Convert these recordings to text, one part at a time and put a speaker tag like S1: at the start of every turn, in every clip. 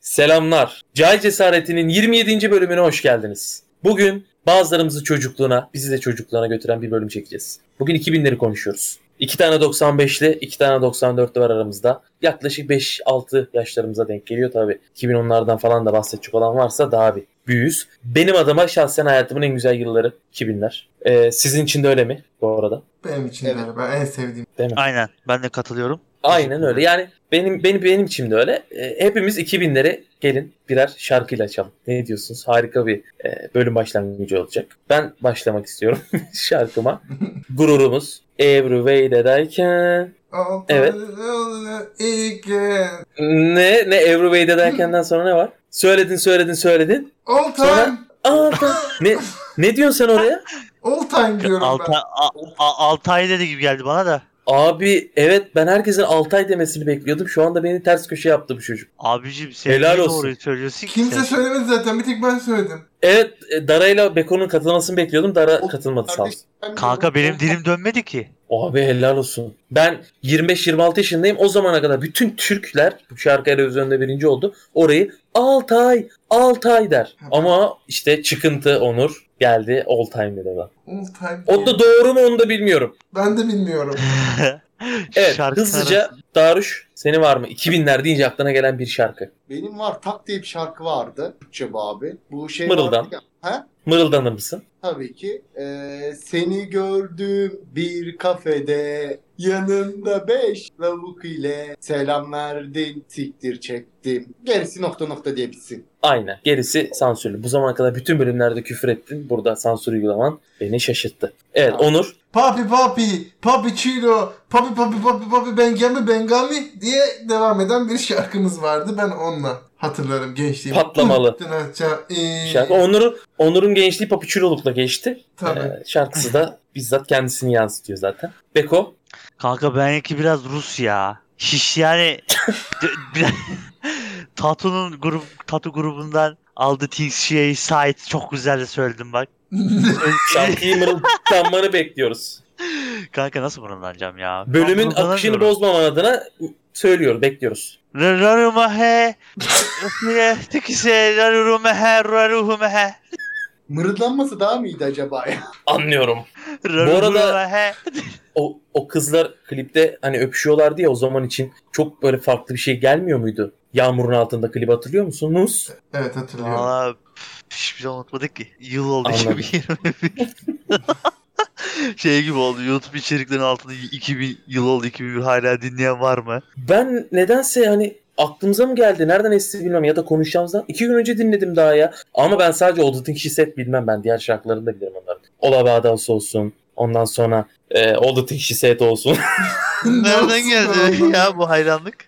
S1: Selamlar. Cahil Cesaretinin 27. bölümüne hoş geldiniz. Bugün bazılarımızı çocukluğuna, bizi de çocukluğuna götüren bir bölüm çekeceğiz. Bugün 2000'leri konuşuyoruz. İki tane 95'li, iki tane 94'lü var aramızda. Yaklaşık 5-6 yaşlarımıza denk geliyor tabi. 2010'lardan falan da bahsedecek olan varsa daha bir büyüğüz. Benim adıma şahsen hayatımın en güzel yılları 2000'ler. Ee, sizin için de öyle mi bu arada?
S2: Benim için
S3: Evet.
S2: galiba en sevdiğim.
S1: Değil mi?
S4: Aynen. Ben de katılıyorum.
S1: Aynen öyle. Yani benim benim benim için de öyle. E, hepimiz 2000'lere gelin birer şarkıyla açalım. Ne diyorsunuz? Harika bir e, bölüm başlangıcı olacak. Ben başlamak istiyorum şarkıma. Gururumuz. Every way that I can. Evet.
S2: Igen.
S1: Ne ne every way that I can'dan sonra ne var? Söyledin söyledin söyledin.
S2: All
S1: Sonra-
S2: time.
S1: Aa, da- ne ne diyorsun sen oraya?
S2: All time diyorum
S4: Altay,
S2: ben.
S4: a, a, Altay dedi gibi geldi bana da.
S1: Abi evet ben herkesin Altay demesini bekliyordum. Şu anda beni ters köşe yaptı bu çocuk.
S4: Abicim sen
S1: Helal
S4: Helal
S1: olsun.
S4: doğruyu söylüyorsun ki
S2: Kimse
S4: sen.
S2: söylemedi zaten. Bir tek ben söyledim.
S1: Evet e, Dara ile Beko'nun katılmasını bekliyordum. Dara
S3: O-
S1: katılmadı sağ olsun.
S3: Kardeşim, ben
S4: Kanka
S3: diyorum.
S4: benim dilim dönmedi ki.
S1: Abi helal olsun. Ben 25-26 yaşındayım. O zamana kadar bütün Türkler bu şarkı televizyonda birinci oldu. Orayı Altay, Altay der. Ama işte çıkıntı Onur geldi All Time dedi adam.
S2: All time.
S1: O da doğru mu onu da bilmiyorum.
S2: Ben de bilmiyorum.
S1: Evet
S4: Şarkı
S1: hızlıca
S4: arası-
S1: Daruş seni var mı? 2000'ler deyince aklına gelen bir şarkı.
S3: Benim var Tak diye bir şarkı vardı. Türkçe bu abi. Bu şey
S1: Mırıldan.
S3: vardı ya. Ha?
S1: Mırıldanır mısın?
S3: Tabii ki. Ee, seni gördüm bir kafede yanında beş lavuk ile selam verdin siktir çektim. Gerisi nokta nokta diye bitsin.
S1: Aynen. Gerisi sansürlü. Bu zamana kadar bütün bölümlerde küfür ettin. Burada sansür uygulaman beni şaşırttı. Evet Onur.
S2: Papi papi, papi chilo, papi papi papi papi bengami bengami diye devam eden bir şarkımız vardı. Ben onunla hatırlarım gençliğim.
S1: Patlamalı. Şarkı.
S2: Şarkı
S1: Onur'un Onur'un gençliği Papiçuroluk'la geçti.
S2: Tabii.
S1: Ee, şarkısı da bizzat kendisini yansıtıyor zaten. Beko
S4: Kanka benimki biraz Rus ya. Şiş yani. D- bir- Tatu'nun grup, Tatu grubundan aldı Things She Side çok güzel de söyledim bak.
S1: şarkıyı mırıldanmanı bekliyoruz.
S4: Kanka nasıl mırıldanacağım ya? Ben
S1: Bölümün
S4: mırıldanamıyorum.
S1: akışını bozmaman adına söylüyor, bekliyoruz.
S4: Rarurume he. Tikise rarurume he raruhume he.
S3: Mırıldanması daha mı iyiydi acaba ya?
S1: Anlıyorum.
S4: Rarurume
S1: arada-
S4: he.
S1: O, o kızlar klipte hani öpüşüyorlardı ya o zaman için çok böyle farklı bir şey gelmiyor muydu? Yağmurun altında klip hatırlıyor musunuz?
S2: Evet hatırlıyorum.
S4: Valla pf, hiçbir şey unutmadık ki. Yıl oldu
S1: Anladım.
S4: 2021. şey gibi oldu. YouTube içeriklerin altında 2000 yıl oldu 2001 hala dinleyen var mı?
S1: Ben nedense hani aklımıza mı geldi? Nereden esti bilmiyorum ya da konuşacağımızdan. iki gün önce dinledim daha ya. Ama ben sadece Oldut'un kişi set bilmem ben. Diğer şarkılarını da bilirim onların. Ola Bağdas olsun. Ondan sonra e, Oldut'un kişi set olsun.
S2: Ne
S4: Nereden
S2: olsun
S4: geldi
S2: be
S4: ya bu hayranlık?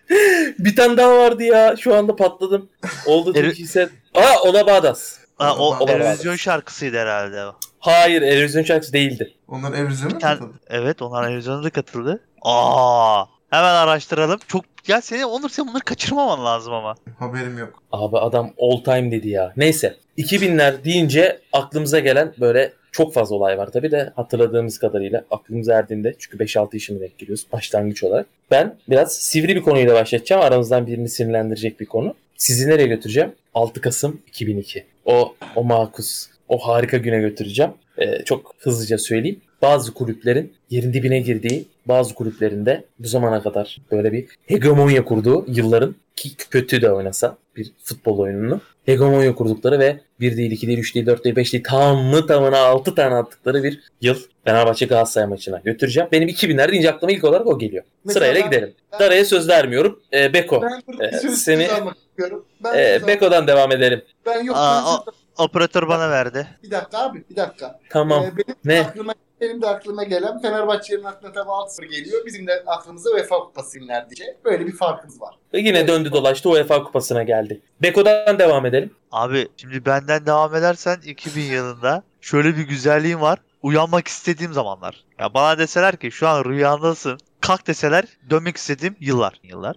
S1: bir tane daha vardı ya. Şu anda patladım. Oldut'un
S4: Eri-
S1: kişi set. Aa Ola Bağdas.
S4: Ha, o
S2: Olamaz.
S4: televizyon şarkısıydı herhalde. o.
S1: Hayır Erozyon şarkısı değildi.
S2: Onlar Eriz'e mi
S4: Bir tane-
S2: katıldı?
S4: Evet onlar televizyona da katıldı. Aa, hemen araştıralım. Çok ya seni Onur sen bunları kaçırmaman lazım ama.
S2: Haberim yok.
S1: Abi adam all time dedi ya. Neyse 2000'ler deyince aklımıza gelen böyle çok fazla olay var. Tabi de hatırladığımız kadarıyla aklımıza erdiğinde çünkü 5-6 yaşına denk geliyoruz başlangıç olarak. Ben biraz sivri bir konuyla başlatacağım. Aramızdan birini sinirlendirecek bir konu. Sizi nereye götüreceğim? 6 Kasım 2002. O, o makus, o harika güne götüreceğim. Ee, çok hızlıca söyleyeyim. Bazı kulüplerin yerin dibine girdiği, bazı kulüplerinde bu zamana kadar böyle bir hegemonya kurduğu yılların ki kötü de oynasa bir futbol oyununu hegemonya kurdukları ve 1 değil 2 değil 3 değil 4 değil 5 değil tamı tamına 6 tane attıkları bir yıl Fenerbahçe Galatasaray maçına götüreceğim. Benim 2000'ler deyince aklıma ilk olarak o geliyor.
S3: Mesela
S1: Sırayla
S3: ben-
S1: gidelim. Dara'ya söz vermiyorum. Ee, Beko.
S3: Ben burada şey
S1: Ee,
S3: sözsüz
S1: seni-
S3: almak istiyorum. Ben,
S1: Ee, Beko'dan devam edelim.
S3: ben yok.
S4: Aa,
S3: ben
S4: o-
S3: sözsüz-
S4: Operatör bana verdi.
S3: Bir dakika abi bir dakika.
S1: Tamam.
S3: Ee, benim
S1: Ne?
S3: aklıma benim de aklıma gelen Fenerbahçe'nin aklına tabii 6 geliyor. Bizim de aklımıza UEFA Kupası iner diye. Böyle bir farkımız var.
S1: Ve yine döndü dolaştı UEFA kupasına geldi. Beko'dan devam edelim.
S4: Abi şimdi benden devam edersen 2000 yılında şöyle bir güzelliğim var. Uyanmak istediğim zamanlar. Ya bana deseler ki şu an rüyandasın. Kalk deseler dönmek istediğim yıllar. Yıllar.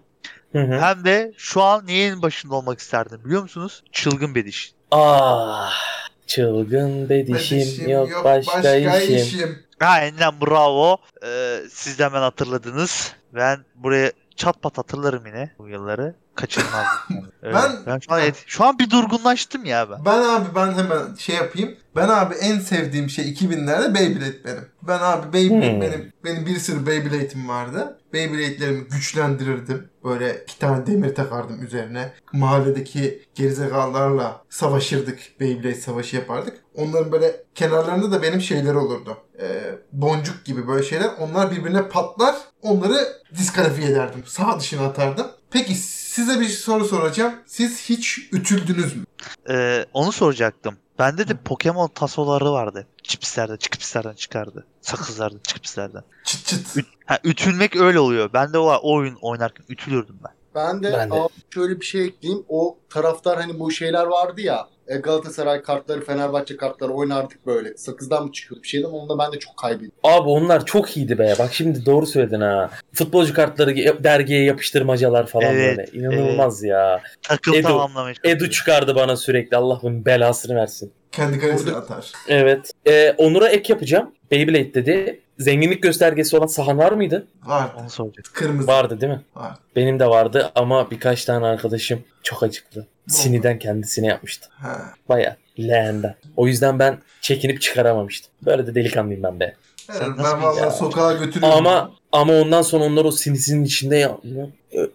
S1: Hı hı.
S4: Hem de şu an neyin başında olmak isterdim biliyor musunuz? Çılgın bir diş.
S1: Ah çılgın bedişim,
S2: Kardeşim,
S1: yok, başka, işim.
S4: Aynen bravo. Ee, siz de hemen hatırladınız. Ben buraya çat pat hatırlarım yine bu yılları. Kaçınmaz.
S2: Ben-
S4: ben, ben şu, an, et- şu an bir durgunlaştım ya ben.
S2: Ben abi ben hemen şey yapayım. Ben abi en sevdiğim şey 2000'lerde Beyblade benim. Ben abi Beyblade
S1: Hmm.
S2: benim benim bir sürü Beyblade'im vardı. Beyblade'lerimi güçlendirirdim. Böyle iki tane demir takardım üzerine. Mahalledeki gerizekalılarla savaşırdık. Beyblade savaşı yapardık. Onların böyle kenarlarında da benim şeyler olurdu. Ee, boncuk gibi böyle şeyler. Onlar birbirine patlar. Onları diskalifiye ederdim. Sağ dışına atardım. Peki size bir soru soracağım. Siz hiç ütüldünüz mü?
S4: Ee, onu soracaktım. Bende de Pokemon tasoları vardı. Çipslerden, çıkıpslerden çıkardı. Sakızlardan, çıkıpslerden.
S2: Çıt çıt.
S4: Ha, ütülmek öyle oluyor. Ben de o, o oyun oynarken ütülürdüm ben.
S3: Ben de,
S1: Ben de.
S3: abi şöyle bir şey ekleyeyim. O taraftar hani bu şeyler vardı ya. e, Galatasaray kartları, Fenerbahçe kartları oynardık böyle. Sakızdan mı çıkıyordu bir şeyden? Onu da ben de çok kaybettim.
S1: Abi onlar çok iyiydi be. Bak şimdi doğru söyledin ha. Futbolcu kartları ge- dergiye yapıştırmacalar falan
S4: Evet,
S1: böyle. İnanılmaz ya.
S4: Takım
S1: Edu-
S4: tamamlamış.
S1: Edu çıkardı bana sürekli. Allah bunun belasını versin.
S2: Kendi kalesine
S3: Orada-
S2: atar.
S1: Evet. Ee, Onur'a ek yapacağım. Beyblade dedi. Zenginlik göstergesi olan sahan var mıydı?
S2: Vardı.
S4: Onu soracaktım.
S2: Kırmızı.
S1: Vardı değil mi?
S2: Var.
S1: Benim de vardı ama birkaç tane arkadaşım çok acıktı. Siniden kendisine yapmıştı.
S2: Ha.
S1: Baya leğenden. O yüzden ben çekinip çıkaramamıştım. Böyle de delikanlıyım ben be.
S2: Evet,
S4: Sen nasıl
S2: ben
S4: bir
S2: valla
S1: ya?
S2: sokağa götürüyorum.
S1: Ama ama ondan sonra onlar o sinisinin içinde ya, ya,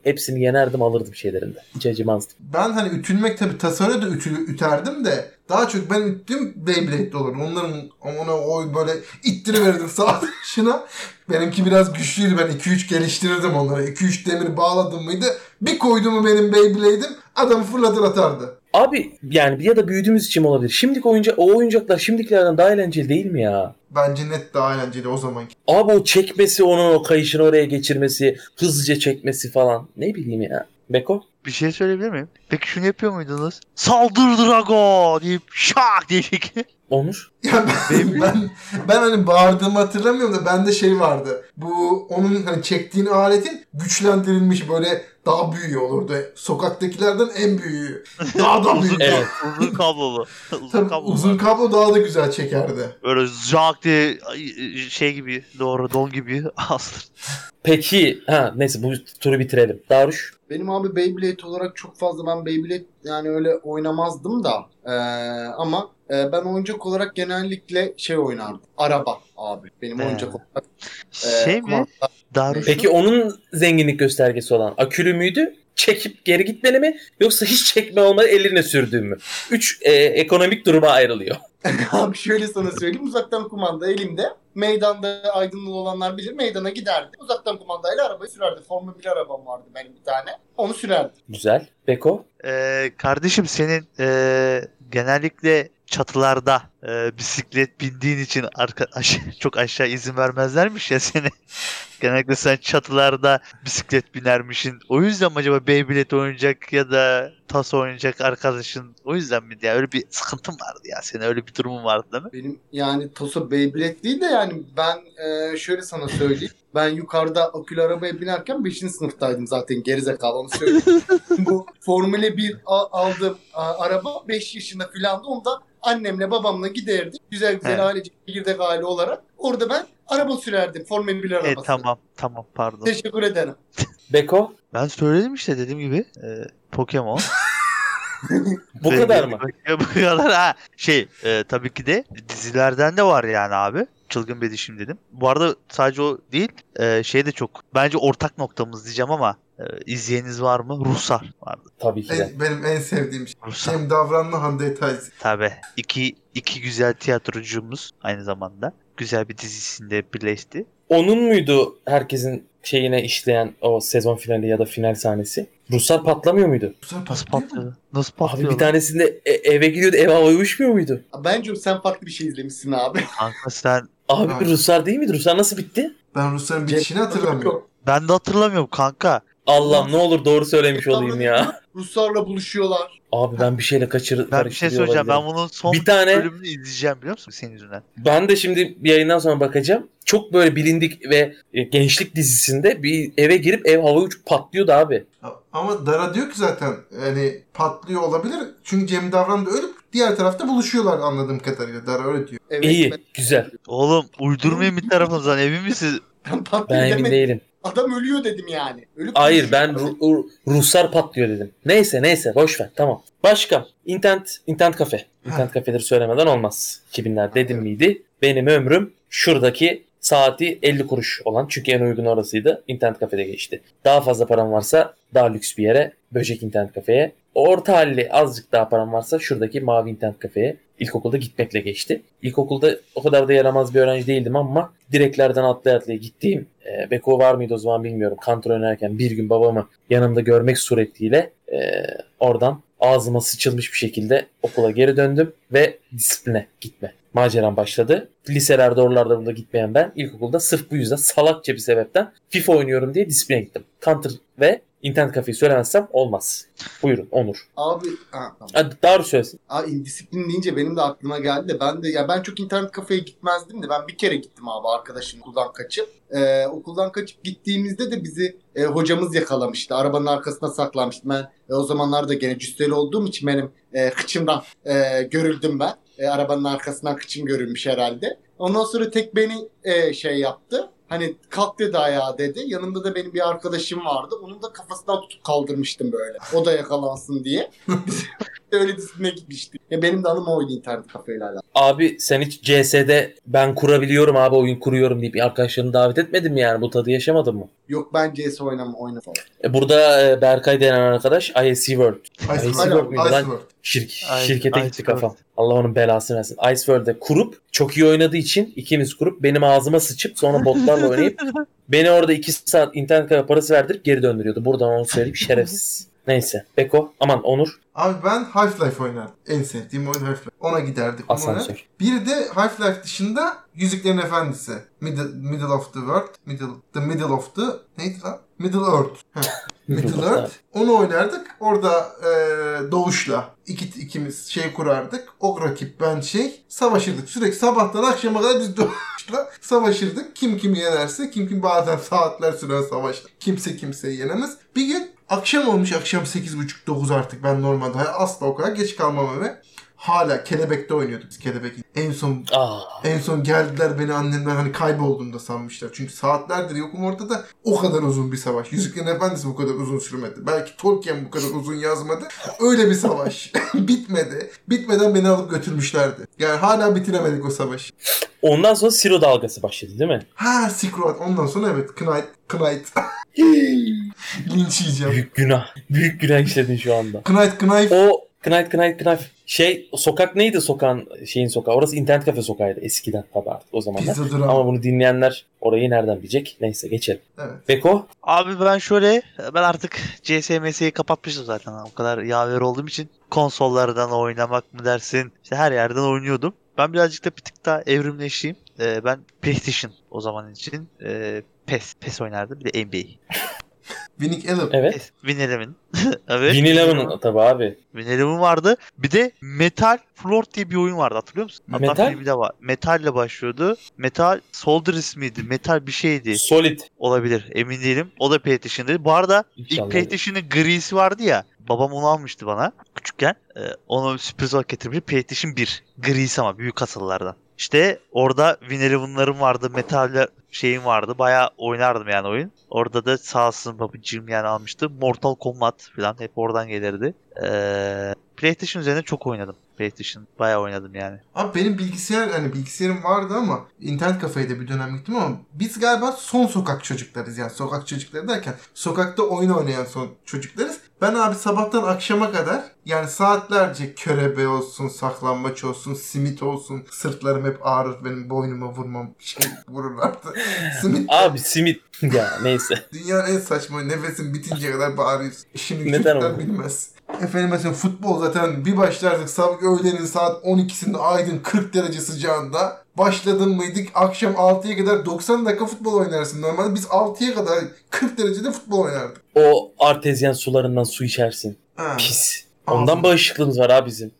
S1: hepsini yenerdim alırdım şeylerinde. Hiç acımazdım.
S2: Ben hani ütülmek tabii tasarı da ütü, üterdim de daha çok ben üttüm Beyblade'de olurdum. Onların ona oy böyle ittiriverdim sağ dışına. Benimki biraz güçlüydü. Ben 2-3 geliştirirdim onlara. 2-3 demir bağladım mıydı? Bir koydu mu benim Beyblade'im adamı fırlatır atardı.
S1: Abi yani ya da büyüdüğümüz için mi olabilir. Şimdiki oyunca o oyuncaklar şimdikilerden daha eğlenceli değil mi ya?
S2: Bence net daha eğlenceli o zamanki.
S1: Abi o çekmesi onun o kayışını oraya geçirmesi, hızlıca çekmesi falan. Ne bileyim ya. Beko?
S4: Bir şey söyleyebilir miyim? Peki şunu yapıyor muydunuz? Saldır Drago deyip şak diye çekiyor.
S1: Onur?
S2: Ya ben, ben, ben hani bağırdığımı hatırlamıyorum da bende şey vardı. Bu onun hani çektiğin aletin güçlendirilmiş böyle daha büyüğü olurdu. Sokaktakilerden en büyüğü. Daha da büyüğü.
S4: uzun,
S1: Evet.
S4: uzun kablolu. uzun
S2: Tabii
S4: kablolu.
S2: uzun kablo daha da güzel çekerdi.
S4: Böyle şak diye ay, şey gibi doğru don gibi asılır.
S1: Peki. Ha neyse bu turu bitirelim. Daruş?
S3: Benim abi Beyblade olarak çok fazla ben Beyblade yani öyle oynamazdım da Ee, ama e, ben oyuncak olarak genellikle şey oynardım. Araba abi. Benim
S1: He.
S3: oyuncak olarak. e,
S4: Şey mi?
S3: kumanda-
S4: Darüş'ün
S1: Peki onun zenginlik göstergesi olan akülü müydü? Çekip geri gitmeli mi? Yoksa hiç çekme olmadan eline sürdüğün mü? Üç e, ekonomik duruma ayrılıyor.
S3: Abi şöyle sana söyleyeyim. Uzaktan kumanda elimde. Meydanda aydınlığı olanlar bilir. Meydana giderdi. Uzaktan kumandayla arabayı sürerdi. Formula 1 arabam vardı benim bir tane. Onu sürerdi.
S1: Güzel. Beko?
S4: Ee, kardeşim senin ee, genellikle çatılarda ee, bisiklet bindiğin için arka, aş- çok aşağı izin vermezlermiş ya seni. Genellikle sen çatılarda bisiklet binermişsin. O yüzden mi acaba Beyblade oynayacak ya da tas oynayacak arkadaşın o yüzden mi? Ya öyle bir sıkıntın vardı ya. Senin öyle bir durumun vardı değil mi?
S3: Benim yani Tosa Beyblade değil de yani ben e, şöyle sana söyleyeyim. Ben yukarıda akülü arabaya binerken 5. sınıftaydım zaten gerizekalı onu söyleyeyim. Bu Formula 1 a- aldığım a- araba 5 yaşında filandı. Onu da annemle babamla giderdik. Güzel güzel
S4: He.
S3: ailece girdek aile olarak. Orada ben araba sürerdim. Formula 1 arabası.
S4: E, tamam tamam pardon.
S3: Teşekkür ederim.
S1: Beko?
S4: Ben söyledim işte dediğim gibi. ee, Pokemon.
S1: Bu kadar mı?
S4: Bu kadar ha. Şey e, tabii ki de dizilerden de var yani abi. Çılgın bir dişim dedim. Bu arada sadece o değil e, şey de çok. Bence ortak noktamız diyeceğim ama e, izleyeniniz var mı? Rusar vardı.
S1: Tabii ki de.
S2: En- benim en sevdiğim şey.
S4: Rusar
S2: Cem Davran'la Hande Tayyip.
S4: tabi. İki, iki güzel tiyatrocumuz aynı zamanda. Güzel bir dizisinde birleşti.
S1: Onun muydu herkesin şeyine işleyen o sezon finali ya da final sahnesi? Ruslar patlamıyor muydu?
S2: Güzel
S4: Nasıl
S2: patlıyor mu?
S4: patlıyor? Nasıl
S1: Abi
S4: patlıyor?
S1: bir
S4: lan?
S1: tanesinde e- eve gidiyordu eve hava uyuşmuyor muydu?
S3: Bence sen farklı bir şey izlemişsin abi.
S4: Kanka sen
S1: Abi
S2: Aynen.
S1: Ruslar değil miydi? Ruslar nasıl bitti?
S2: Ben Rusların bitişini hatırlamıyorum.
S4: ben de hatırlamıyorum kanka.
S1: Allah'ım ne olur doğru söylemiş olayım ya.
S3: Ruslarla buluşuyorlar.
S1: Abi ben bir şeyle kaçır
S4: Ben bir şey
S1: karıştırıyor
S4: söyleyeceğim. Ben
S1: olabilirim.
S4: bunun son
S1: Bir tane-
S4: bölümünü izleyeceğim biliyor musun senin yüzünden?
S1: Ben de şimdi yayından sonra bakacağım. Çok böyle bilindik ve e, gençlik dizisinde bir eve girip ev hava uçup patlıyordu abi.
S2: Ama Dara diyor ki zaten hani patlıyor olabilir. Çünkü Cem Davran da ölüp diğer tarafta buluşuyorlar anladığım kadarıyla. Dara öyle diyor.
S3: Evet,
S1: İyi, güzel.
S4: Oğlum uydurmayın bir tarafınızdan emin misiniz?
S3: Ben, ben
S1: Ben
S3: patlayayım
S1: emin
S3: demedim.
S1: değilim.
S3: Adam ölüyor dedim yani. Ölüp
S1: Hayır ben Ru- Ru- Ruslar patlıyor dedim. Neyse neyse boş ver tamam. Başka internet internet kafe. İnternet kafeleri söylemeden olmaz. 2000'ler dedim
S2: Evet.
S1: miydi? Benim ömrüm şuradaki saati 50 kuruş olan çünkü en uygun orasıydı. İnternet kafede geçti. Daha fazla param varsa daha lüks bir yere böcek internet kafeye. Orta halli azıcık daha param varsa şuradaki mavi internet kafeye ilkokulda gitmekle geçti. İlkokulda o kadar da yaramaz bir öğrenci değildim ama direklerden atlaya atlaya gittiğim e, Beko var mıydı o zaman bilmiyorum. Kantor oynarken bir gün babamı yanımda görmek suretiyle e, oradan ağzıma sıçılmış bir şekilde okula geri döndüm ve disipline gitme maceram başladı. Liselerde oralarda burada gitmeyen ben ilkokulda sırf bu yüzden salakça bir sebepten FIFA oynuyorum diye disipline gittim. Counter ve internet kafeyi söylemezsem olmaz. Buyurun Onur.
S3: Abi ha, tamam.
S1: Hadi Daru söylesin.
S3: Aa, indisiplin deyince benim de aklıma geldi de ben de ya ben çok internet kafeye gitmezdim de ben bir kere gittim abi arkadaşım okuldan kaçıp. Ee, okuldan kaçıp gittiğimizde de bizi e, hocamız yakalamıştı. Arabanın arkasına saklamıştı. Ben e, o zamanlarda gene cüsseli olduğum için benim e, kıçımdan e, görüldüm ben. E, arabanın arkasından kıçım görülmüş herhalde. Ondan sonra tek beni e, şey yaptı. Hani kalk dedi ayağa dedi. Yanımda da benim bir arkadaşım vardı. Onun da kafasından tutup kaldırmıştım böyle. O da yakalansın diye. öyle dizine gitmişti. Ya benim de anım oydu internet kafeyle alakalı.
S1: Abi sen hiç CS'de ben kurabiliyorum abi oyun kuruyorum deyip arkadaşlarını davet etmedin mi yani bu tadı yaşamadın mı?
S3: Yok ben CS oynama oyna falan.
S1: E, Burada e, Berkay denen arkadaş ISC World
S2: Ice
S1: Ice
S2: World.
S1: World miydi
S2: Ice
S1: lan?
S2: World.
S1: Şir-
S4: Ay-
S1: şirkete
S4: Ice
S1: gitti
S4: World.
S1: kafam. Allah onun belasını versin. Ice World'e kurup çok iyi oynadığı için ikimiz kurup benim ağzıma sıçıp sonra botlarla oynayıp beni orada iki saat internet kafe parası verdirip geri döndürüyordu. Buradan onu söyleyip şerefsiz. Neyse. Beko. Aman Onur.
S2: Abi ben Half-Life oynardım. En sevdiğim oyun Half-Life. Ona giderdik. onu oynardık.
S1: Asansör.
S2: Bir de Half-Life dışında Yüzüklerin Efendisi. Middle, middle of the World. Middle, the Middle of the... Neydi lan? Middle Earth. Heh. Middle Earth. Onu oynardık. Orada eee doğuşla iki, ikimiz şey kurardık. O rakip ben şey savaşırdık. Sürekli sabahtan akşama kadar biz doğuşla savaşırdık. Kim kimi yenerse kim kim bazen saatler süren savaşlar. Kimse kimseyi yenemez. Bir gün akşam olmuş akşam 8.30-9 artık ben normalde asla o kadar geç kalmam eve. Hala kelebekte oynuyorduk biz kelebek. En son
S1: Aa,
S2: en son geldiler beni annemler hani kaybolduğumda sanmışlar. Çünkü saatlerdir yokum ortada. O kadar uzun bir savaş. Yüzüklerin Efendisi bu kadar uzun sürmedi. Belki Tolkien bu kadar uzun yazmadı. Öyle bir savaş. Bitmedi. Bitmeden beni alıp götürmüşlerdi. Yani hala bitiremedik o savaşı.
S1: ondan sonra Siro dalgası başladı değil mi?
S2: Ha Sikroat. Ondan sonra evet Knight. Knight. Linç yiyeceğim.
S1: Büyük günah. Büyük günah işledin şu anda.
S2: Knight Knight.
S1: O Knight Knight Knight şey sokak neydi sokağın şeyin sokağı orası internet kafe sokağıydı eskiden tabi artık o zamanlar.
S2: Pizza Drum.
S1: Ama bunu dinleyenler orayı nereden bilecek? Neyse geçelim.
S2: Evet.
S1: Beko
S4: Abi ben şöyle ben artık CSMS'yi kapatmıştım zaten. O kadar yaver olduğum için konsollardan oynamak mı dersin? İşte her yerden oynuyordum. Ben birazcık da bir tık daha evrimleşeyim. Ee, ben PlayStation o zaman için e, PES, PES oynardım. Bir de NBA.
S2: Winning Eleven.
S1: evet.
S4: PES, E Win Eleven. evet.
S1: Vinny Lemon tabi abi.
S4: Win Eleven vardı. Bir de Metal Floor diye bir oyun vardı hatırlıyor musun? Hatta
S1: Metal?
S4: filmi de var. Metal ile başlıyordu. Metal Soldier ismiydi. Metal bir şeydi.
S1: Solid.
S4: Olabilir. Emin değilim. O da PlayStation'dı. Bu arada
S1: İnşallah.
S4: İlk PlayStation'ın grisi vardı ya. Babam onu almıştı bana küçükken. Ee, ona bir sürpriz olarak getirmişti. PlayStation 1. Grisi ama büyük kasalardan. İşte orada Win Eleven'larım vardı. Metal şeyim vardı. Bayağı oynardım yani oyun. Orada da sağ olsun babacığım yani almıştı. Mortal Kombat falan hep oradan gelirdi. Ee, PlayStation üzerine çok oynadım. PlayStation bayağı oynadım yani.
S2: Abi benim bilgisayar hani bilgisayarım vardı ama internet kafeye de bir dönem gittim ama biz galiba son sokak çocuklarız yani sokak çocukları derken sokakta oyun oynayan son çocuklarız. Ben abi sabahtan akşama kadar yani saatlerce körebe olsun, saklambaç olsun, simit olsun. Sırtlarım hep ağrır benim boynuma vurmam şey vururlardı. simit
S1: Abi simit. ya neyse.
S2: Dünyanın en saçma nefesin bitince kadar bağırıyorsun. Şimdi
S1: Neden
S2: çocuklar
S1: oldu?
S2: bilmez. Efendim mesela futbol zaten bir başlardık sabah öğlenin saat 12'sinde aydın 40 derece sıcağında. Başladın mıydık akşam 6'ya kadar 90 dakika futbol oynarsın. Normalde biz 6'ya kadar 40 derecede futbol oynardık.
S1: O artezyen sularından su içersin.
S2: Ha.
S1: Pis.
S2: Ağzını-
S1: Ondan bağışıklığımız var abi bizim.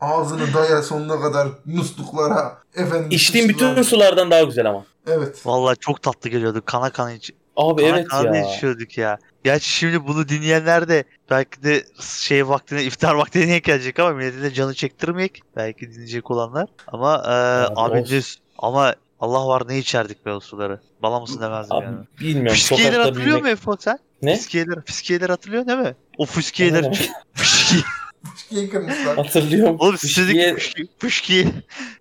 S2: Ağzını daya sonuna kadar musluklara. Efendim,
S1: İçtiğim bütün
S2: suçlara.
S1: sulardan daha güzel ama.
S2: Evet.
S4: Vallahi çok tatlı geliyordu. Kana kana iç,
S1: Abi
S4: Kana
S1: evet
S4: kana
S1: ya.
S4: içiyorduk ya. Gerçi şimdi bunu dinleyenler de belki de şey vaktine iftar vaktine denk gelecek ama millete de canı çektirmeyek. Belki dinleyecek olanlar. Ama e,
S1: Abi
S4: abi
S1: olsun.
S4: düz ama Allah var ne içerdik be o suları. Bala mısın demezdim
S1: Abi
S4: yani.
S1: bilmiyorum.
S4: Fiskiyeler
S1: Sokakta
S4: hatırlıyor
S1: büyümek.
S4: mu Efo sen?
S1: Ne?
S4: Fiskiyeler, fiskiyeler hatırlıyor değil mi? O fiskiyeler. Fışkiye.
S2: Fışkiye kırmışlar.
S1: Hatırlıyorum.
S4: Oğlum
S1: Fışkiye- E,
S4: sizin fışkiye. Fışkiye.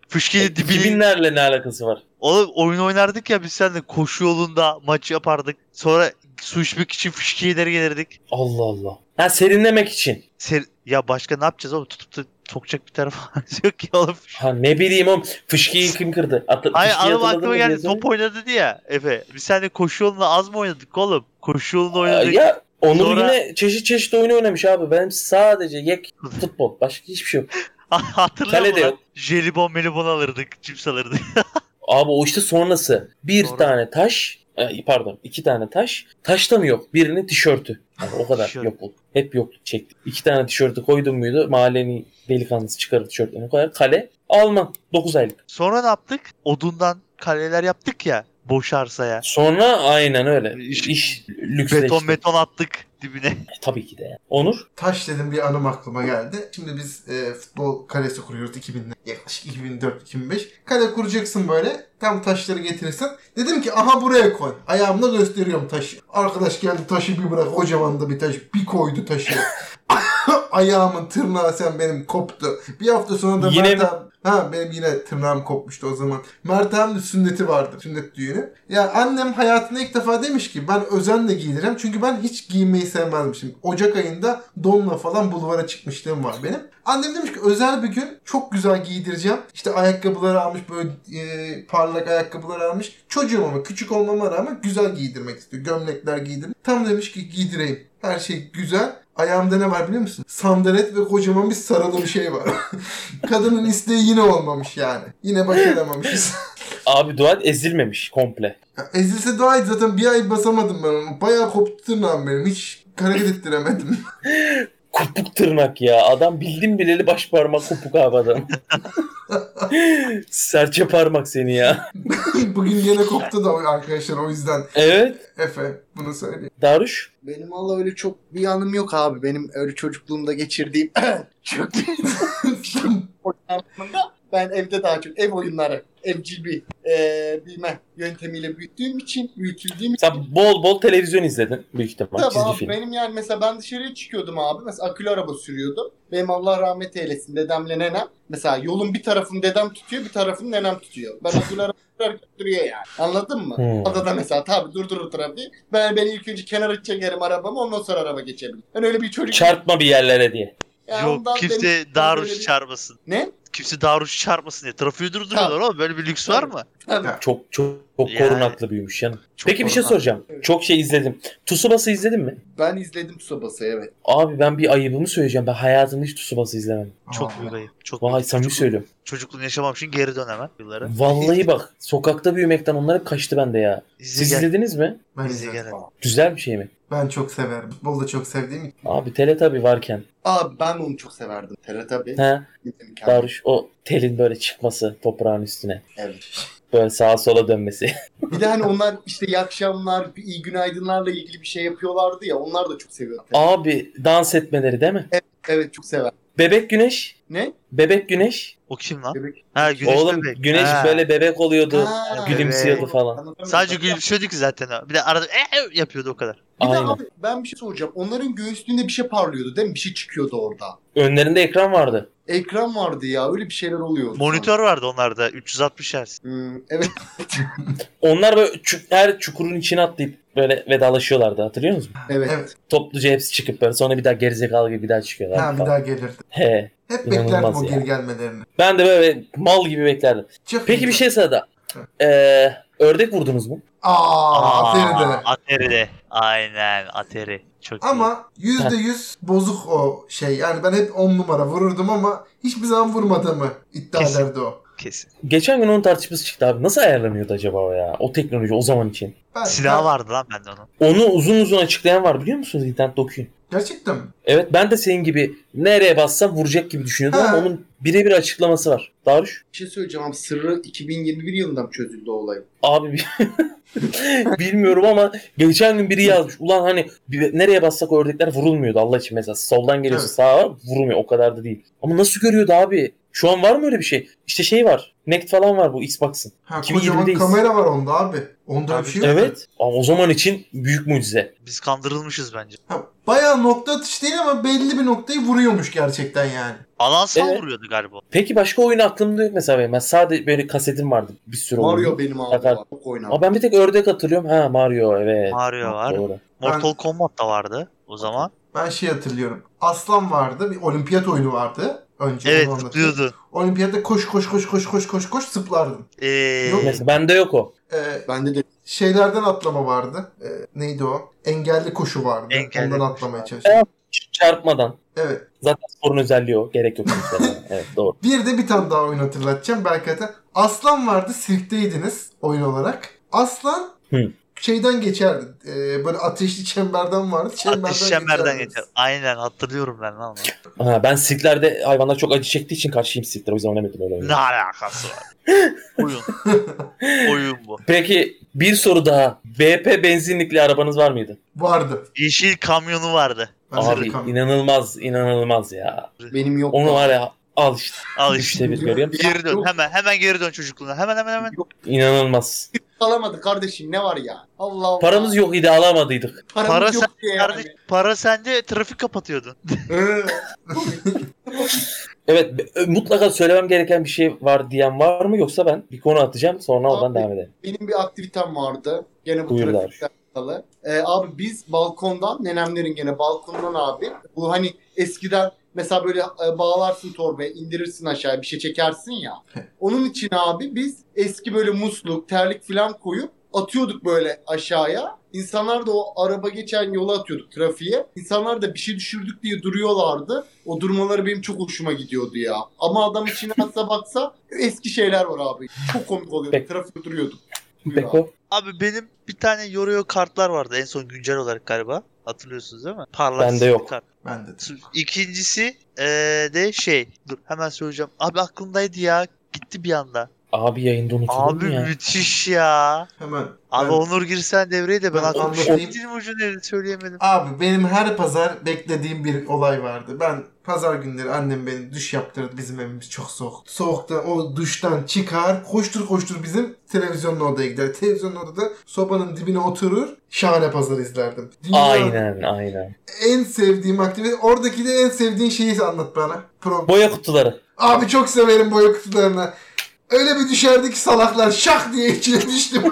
S4: Fışkiye dibini.
S1: 2000'lerle ne alakası var?
S4: Oğlum oyun oynardık ya biz seninle koşu yolunda maç yapardık. Sonra su içmek için fışkiyeleri gelirdik.
S1: Allah Allah. Ha serinlemek için.
S4: Ser- ya başka ne yapacağız oğlum? Tutup da sokacak bir tarafımız yok ki oğlum.
S1: Ha ne bileyim oğlum. Fışkiyi kim kırdı? Atı,
S4: Hayır
S1: fışkiyi hatırladın
S4: anım
S1: mı
S4: aklıma
S1: diye
S4: geldi.
S1: soruyorum.
S4: Top oynadı diye ya Efe. Biz seninle koşu yolunda az mı oynadık oğlum? Koşu yolunda
S1: Aa,
S4: oynadık.
S1: Ya Onur
S4: Sonra-
S1: yine çeşit çeşit oyun oynamış abi. Benim sadece yek futbol. Başka hiçbir şey yok.
S4: Hatırlıyor
S1: Kalede
S4: musun? lan?
S1: yok.
S4: Jelibon melibon alırdık. Cips alırdık.
S1: Abi o işte sonrası. Bir
S4: Sonra-
S1: tane taş. e, Pardon iki tane taş. Taştan yok. Birinin tişörtü. Yani o kadar
S4: Tişört.
S1: yok oldu. Hep yokluk çekti. İki tane tişörtü koydum muydu mahallenin delikanlısı çıkarır tişörtlerini. O kadar kale. Alman. 9 aylık.
S4: Sonra ne yaptık? Odundan kaleler yaptık ya. Boş arsaya.
S1: Sonra aynen öyle.
S4: İş-
S1: İş, lüksleşti. E,
S4: Beton beton attık dibine.
S1: Tabii ki de. yani. Onur.
S2: Taş dedim bir anım aklıma geldi. Şimdi biz e, futbol kalesi kuruyoruz 2000'de. Yaklaşık 2004-2005. Kale kuracaksın böyle. Tam taşları getirirsen. Dedim ki aha buraya koy. Ayağımla gösteriyorum taşı. Arkadaş geldi taşı bir bırak. Kocaman da bir taş. Bir koydu taşı. Ayağımın tırnağı sen benim koptu. Bir hafta sonra da
S1: Yine
S2: Mert
S1: mi?
S2: abi- Ha benim yine tırnağım kopmuştu o zaman. Mert abinin sünneti vardı. Sünnet düğünü. Ya annem hayatında ilk defa demiş ki ben özenle giyinirim. Çünkü ben hiç giymeyi sevmezmişim. Ocak ayında donla falan bulvara çıkmışlığım var benim. Annem demiş ki özel bir gün çok güzel giydireceğim. İşte ayakkabıları almış böyle e, parlak ayakkabılar almış. Çocuğum ama küçük olmama rağmen güzel giydirmek istiyor. Gömlekler giydim. Tam demiş ki giydireyim. Her şey güzel. Ayağımda ne var biliyor musun? Sandalet ve kocaman bir sarılı bir şey var. Kadının isteği yine olmamış yani. Yine başaramamışız.
S1: Abi dua et, ezilmemiş komple.
S2: Ya Ezilse dua et zaten bir ay basamadım ben onu. Bayağı koptu tırnağım benim. Hiç hareket ettiremedim.
S1: Kopuk tırnak ya. Adam bildim bileli baş parmak kopuk abi adam. Serçe parmak seni ya.
S2: Bugün yine koptu da arkadaşlar o yüzden
S1: Evet.
S2: Efe bunu söyleyeyim.
S1: Daruş.
S3: Benim valla öyle çok bir anım yok abi. Benim öyle çocukluğumda geçirdiğim çok anlamında ben evde daha çok ev oyunları, evcil bir e, bilmem yöntemiyle büyüttüğüm için, büyütüldüğüm için.
S1: Sen bol bol televizyon izledin büyük ihtimal
S3: Tabii
S1: çizgi
S3: abi,
S1: film.
S3: benim yani mesela ben dışarıya çıkıyordum abi. Mesela akülü araba sürüyordum. Benim Allah rahmet eylesin dedemle nenem. Mesela yolun bir tarafını dedem tutuyor bir tarafını nenem tutuyor. Ben akülü araba sürerken duruyor yani. Anladın mı?
S1: Hmm.
S3: Adada mesela tabi durdurur trafiği. Ben, ben ilk önce kenara çekerim arabamı ondan sonra araba geçebilirim. Ben öyle bir çocuk.
S1: Çarpma bir yerlere diye.
S3: Ya
S4: Yok
S3: ondan benim-
S4: kimse
S3: böyle
S4: daruş
S3: bir-
S4: çarpmasın.
S3: Ne?
S4: Kimse daruş çarpmasın diye. Trafiği durduruyorlar oğlum. Böyle bir lüks var mı?
S3: Tabii.
S1: Çok çok, çok
S4: Yani.
S1: korunaklı büyümüş yani.
S4: Çok
S1: Peki bir şey
S4: korunaklı.
S1: soracağım.
S3: Evet.
S1: Çok şey izledim. Tsubasa izledin mi?
S3: Ben izledim Tsubasa'yı evet.
S1: Abi ben bir ayıbımı söyleyeceğim. Ben hayatımda hiç Tsubasa izlemedim.
S4: Çok
S2: Aa.
S4: büyük ayıp. Çok
S1: Vay
S4: büyük.
S1: samimi
S4: Çocuk-
S1: söylüyorum.
S4: Çocukluğunu yaşamam için geri dön hemen yıllara.
S1: Vallahi bak sokakta büyümekten onlar hep kaçtı bende ya.
S4: İzle
S1: Siz
S4: gel.
S1: izlediniz mi?
S2: Ben,
S4: İzle
S2: izledim.
S4: gel.
S1: Güzel bir şey mi?
S2: ben çok severim. Futbolu da çok sevdiğim için.
S1: Abi Teletabi varken.
S3: Abi ben onu çok severdim. Teletabi.
S1: He,
S3: Mükemmel.
S1: Daruş o telin böyle çıkması toprağın üstüne.
S3: Evet.
S1: Böyle sağa sola dönmesi.
S3: Bir de hani onlar işte iyi akşamlar, iyi günaydınlarla ilgili bir şey yapıyorlardı ya. Onlar da çok seviyordu.
S1: Abi dans etmeleri değil mi?
S3: Evet çok sever.
S1: Bebek Güneş.
S3: Ne?
S1: Bebek Güneş.
S4: O kim lan?
S3: Bebek.
S4: Ha güneş
S1: Oğlum
S4: bebek.
S1: Güneş
S4: Ha.
S1: böyle bebek oluyordu.
S3: Ha,
S1: gülümsüyordu
S3: evet.
S1: falan.
S3: Anlatamıyorum.
S4: Sadece
S3: Ya,
S4: gülümsüyorduk zaten o. Bir de arada "Ee!" yapıyordu o kadar.
S3: Bir de
S1: Aynen.
S3: abi ben bir şey soracağım. Onların göğsünde bir şey parlıyordu değil mi? Bir şey çıkıyordu orada.
S1: Önlerinde ekran vardı.
S3: Ekran vardı ya. Öyle bir şeyler oluyordu.
S4: Monitör vardı onlarda 360 Hz.
S3: Hmm, evet.
S1: Onlar böyle çu- her çukurun içine atlayıp böyle vedalaşıyorlardı hatırlıyor musun?
S3: Evet.
S2: Evet.
S1: Topluca hepsi çıkıp böyle sonra bir daha gerizekalı gibi bir daha çıkıyorlar.
S2: Ha, bir
S1: falan.
S2: daha gelirdi.
S1: He.
S2: Hep
S1: İnanılmaz
S2: beklerdim o
S1: ya.
S2: geri gelmelerini.
S1: Ben de böyle mal gibi beklerdim.
S2: Çok
S1: Peki
S2: güzel.
S1: bir şey sırada. Ee, ördek vurdunuz mu?
S2: Aa,
S4: Aa,
S2: Atari'de.
S4: Atari'de. Aynen Atari. Çok iyi.
S2: Ama yüzde yüz bozuk o şey. Yani ben hep on numara vururdum ama hiçbir zaman vurmadığımı iddia
S4: Kesin.
S2: ederdi o.
S4: Kesin.
S1: Geçen gün onun tartışması çıktı abi. Nasıl ayarlanıyordu acaba o ya? O teknoloji o zaman için.
S2: Ben,
S4: Silahı
S2: ben-
S4: vardı lan bende onun.
S1: Onu uzun uzun açıklayan var biliyor musunuz? İnternette okuyun.
S2: Gerçekten mi?
S1: Evet ben de senin gibi nereye bassam vuracak gibi düşünüyordum
S2: Ha.
S1: ama onun birebir açıklaması var. Daruş.
S3: Bir şey söyleyeceğim abi. Sırrı 2021 yılında mı çözüldü o olay?
S1: Abi bi- bilmiyorum ama geçen gün biri yazmış. Ulan hani bir- nereye bassak o ördekler vurulmuyordu Allah için mesela. Soldan geliyorsa
S2: Evet.
S1: sağa vurulmuyor. O kadar da değil. Ama nasıl görüyordu abi? Şu an var mı öyle bir şey? İşte şey var. Kinect falan var bu Xbox'ın.
S2: Ha,
S1: 2020'deyiz.
S2: kocaman kamera var onda abi. Onda
S4: Abi,
S2: bir şey yok.
S1: Evet. Ama o zaman için büyük mucize.
S4: Biz kandırılmışız bence.
S2: Ha, bayağı nokta atışı değil ama belli bir noktayı vuruyormuş gerçekten yani.
S4: Alansal
S1: Evet.
S4: vuruyordu galiba.
S1: Peki başka oyun aklımda yok mesela benim. Ben sadece böyle kasetim vardı bir sürü
S3: Mario
S1: oyun.
S3: benim
S1: Zaten-
S3: ağzımda. Çok oynadım.
S1: Ama ben bir tek ördek hatırlıyorum. Ha Mario evet.
S4: Mario var.
S1: Doğru.
S4: Mortal Kombat da vardı o zaman.
S2: Ben şey hatırlıyorum. Aslan vardı. Bir olimpiyat oyunu vardı. Önce onu
S4: Evet
S2: anlatayım.
S4: zıplıyordu.
S2: Olimpiyatta koş koş koş koş koş koş koş zıplardın.
S4: Ee,
S2: Yok.
S1: Mesela bende yok o.
S2: Ee,
S3: Bende de
S2: şeylerden atlama vardı. Ee, neydi o? Engelli koşu vardı.
S4: Engelli
S2: Ondan
S4: koşu
S2: atlamaya
S4: vardı.
S2: çalışıyordum.
S1: Ç- Çarpmadan.
S2: Evet.
S1: Zaten sporun özelliği o. Gerek yok. mesela. evet doğru.
S2: Bir de bir tane daha oyun hatırlatacağım. Belki hatta Aslan vardı. Sirkteydiniz oyun olarak. Aslan
S1: Hı.
S2: şeyden geçerdi. Ee, böyle ateşli çemberden vardı. Çemberden
S4: Ateş çemberden
S2: geçerdiniz.
S4: geçer. Aynen hatırlıyorum ben ama.
S1: Ha, ben sirklerde hayvanlar çok acı çektiği için karşıyım sirklere. O yüzden oynamadım öyle oyunu.
S4: ne alakası var? Oyun. Oyun bu.
S1: Peki bir soru daha. BP benzinlikli arabanız var mıydı?
S2: Vardı.
S4: Yeşil kamyonu vardı.
S2: Ben
S1: Abi
S2: Zırhkan-
S1: inanılmaz inanılmaz ya.
S3: benim yok.
S1: Onu var ya al işte.
S4: Al
S1: Üçte
S4: işte.
S1: bir görüyorum.
S4: Geri dön. Hemen hemen geri dön çocukluğuna. Hemen hemen hemen.
S1: İnanılmaz.
S3: Alamadı kardeşim ne var ya? Allah Allah.
S1: Paramız yok idi alamadıydık.
S3: Paramız
S4: Para
S3: yok diye yani.
S4: Kardeş, para sende trafik kapatıyordun.
S3: Ee,
S1: Evet b- mutlaka söylemem gereken bir şey var diyen var mı yoksa ben bir konu atacağım sonra oradan
S3: Abi.
S1: devam edelim.
S3: benim bir aktivitem vardı. Gene bu
S1: Buyur abi.
S3: trafikle alakalı. Ee, abi biz balkondan, nenemlerin gene balkondan abi. Bu hani eskiden mesela böyle e, bağlarsın torbaya, indirirsin aşağıya bir şey çekersin ya. Onun için abi biz eski böyle musluk, terlik falan koyup atıyorduk böyle aşağıya. İnsanlar da o araba geçen yola atıyorduk trafiğe. İnsanlar da bir şey düşürdük diye duruyorlardı. O durmaları benim çok hoşuma gidiyordu ya. Ama adam içine atsa baksa eski şeyler var abi. Çok komik oluyordu.
S1: Peki.
S3: Trafikte duruyorduk. Buyur abi.
S1: Beko
S4: Abi benim bir tane Yoruyo kartlar vardı en son güncel olarak galiba. Hatırlıyorsunuz değil mi? Parlak
S1: Bende
S4: sivri
S1: yok.
S4: kart.
S2: Ben de.
S4: İkincisi eee, de şey. Dur hemen söyleyeceğim. Abi aklımdaydı ya. Gitti bir anda.
S1: abi yayında unutulur
S4: Abi şey
S1: mu ya?
S4: müthiş ya.
S2: Hemen.
S4: Abi
S2: ben-
S4: Onur girsen devreye de ben
S2: Ben
S4: aklım
S2: anlatayım.
S4: şiştim ucu nerede söyleyemedim.
S2: Abi benim her pazar beklediğim bir olay vardı. Ben pazar günleri annem beni duş yaptırırdı. Bizim evimiz çok soğuk. Soğukta o duştan çıkar, koştur koştur bizim televizyonun odaya gider. Televizyonun odada sobanın dibine oturur, şahane pazar izlerdim. Dünyanın
S1: Aynen aynen.
S2: En sevdiğim aktivite, oradaki de en sevdiğin şeyi anlat bana. Pro-
S1: Boya kutuları.
S2: Abi çok severim boya kutularını. Öyle bir düşerdi ki salaklar şak diye içine düştüm.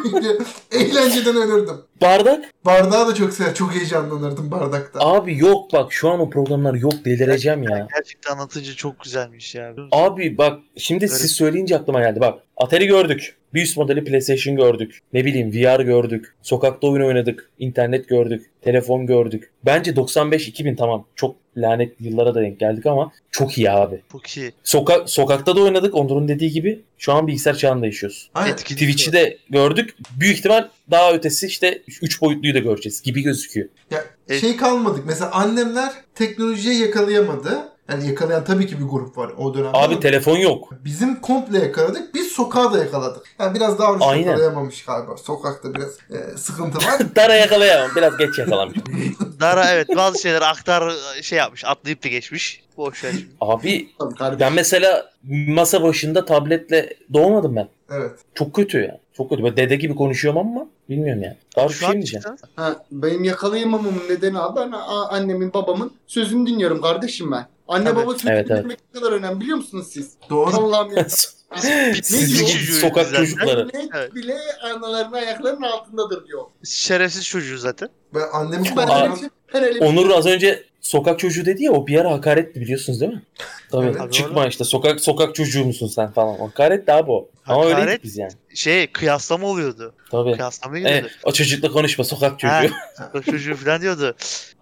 S2: Eğlenceden ölürdüm.
S1: Bardak?
S2: Bardağı da çok sever. Çok heyecanlanırdım bardakta.
S1: Abi yok bak şu an o programlar yok delireceğim ya.
S4: Gerçekten anlatınca çok güzelmiş ya.
S1: Abi bak şimdi
S4: Garip.
S1: siz söyleyince aklıma geldi bak. Atari gördük. Bir üst modeli PlayStation gördük. Ne bileyim VR gördük. Sokakta oyun oynadık. internet gördük. Telefon gördük. Bence 95-2000 tamam. Çok lanet yıllara da denk geldik ama çok iyi abi.
S4: Çok iyi.
S1: Soka sokakta da oynadık Onur'un dediği gibi. Şu an bilgisayar çağında yaşıyoruz.
S2: Aynen.
S4: Etkinlik
S1: Twitch'i de gördük. Büyük ihtimal daha ötesi işte 3 boyutluyu da göreceğiz gibi gözüküyor.
S2: Ya
S4: E-
S2: şey kalmadık. Mesela annemler teknolojiye yakalayamadı. Yani yakalayan tabii ki bir grup var o dönemde.
S1: Abi
S2: ama
S1: telefon yok.
S2: bizim komple yakaladık. Biz sokağa da yakaladık. Yani biraz daha önce
S1: Aynen.
S2: yakalayamamış galiba. Sokakta biraz e, sıkıntı var.
S1: Dara yakalayamam. Biraz geç yakalamış.
S4: Dara evet bazı şeyler aktar şey yapmış atlayıp da geçmiş. Boş ver şimdi.
S1: Abi
S3: Tabii kardeşim.
S1: ben mesela masa başında tabletle doğmadım ben.
S2: evet.
S1: Çok kötü ya. Çok kötü. Böyle dede gibi konuşuyorum ama bilmiyorum yani. Daha bir
S4: Şu
S1: şey mi
S4: an
S1: diyeceğim?
S4: çıktı.
S3: Ha, benim yakalayamamamın nedeni abi ben a- annemin babamın sözünü dinliyorum kardeşim ben. Anne
S2: Tabii.
S3: baba sözünü
S1: Evet, evet.
S3: dinlemek ne kadar önemli biliyor musunuz siz?
S2: Doğru.
S3: Allah'ım ya.
S4: Siz
S1: Siz
S3: diyor?
S4: çocuğuyuz
S1: sokak
S4: zaten.
S1: çocukları.
S4: Evet.
S3: Millet bile analarının ayaklarının altındadır diyor.
S4: Şerefsiz çocuğu zaten.
S2: Ben annemi
S1: Aa.
S3: Ben öyle bir
S2: kullanıyorum.
S3: şey- ben öyle bir-
S1: Onur az önce sokak çocuğu dedi ya o bir ara hakaretti biliyorsunuz değil mi? Tabii.
S2: Evet.
S4: Tabii
S1: Çıkma
S4: oğlum.
S1: işte sokak sokak çocuğu musun sen falan. Hakaret daha bu. Ama
S4: Hakaret.
S1: öyleydik biz yani.
S4: Şey kıyaslama oluyordu.
S1: Tabii.
S4: Kıyaslama
S1: E,
S4: giriyordu.
S1: o çocukla konuşma sokak çocuğu.
S4: Ha, sokak çocuğu falan diyordu.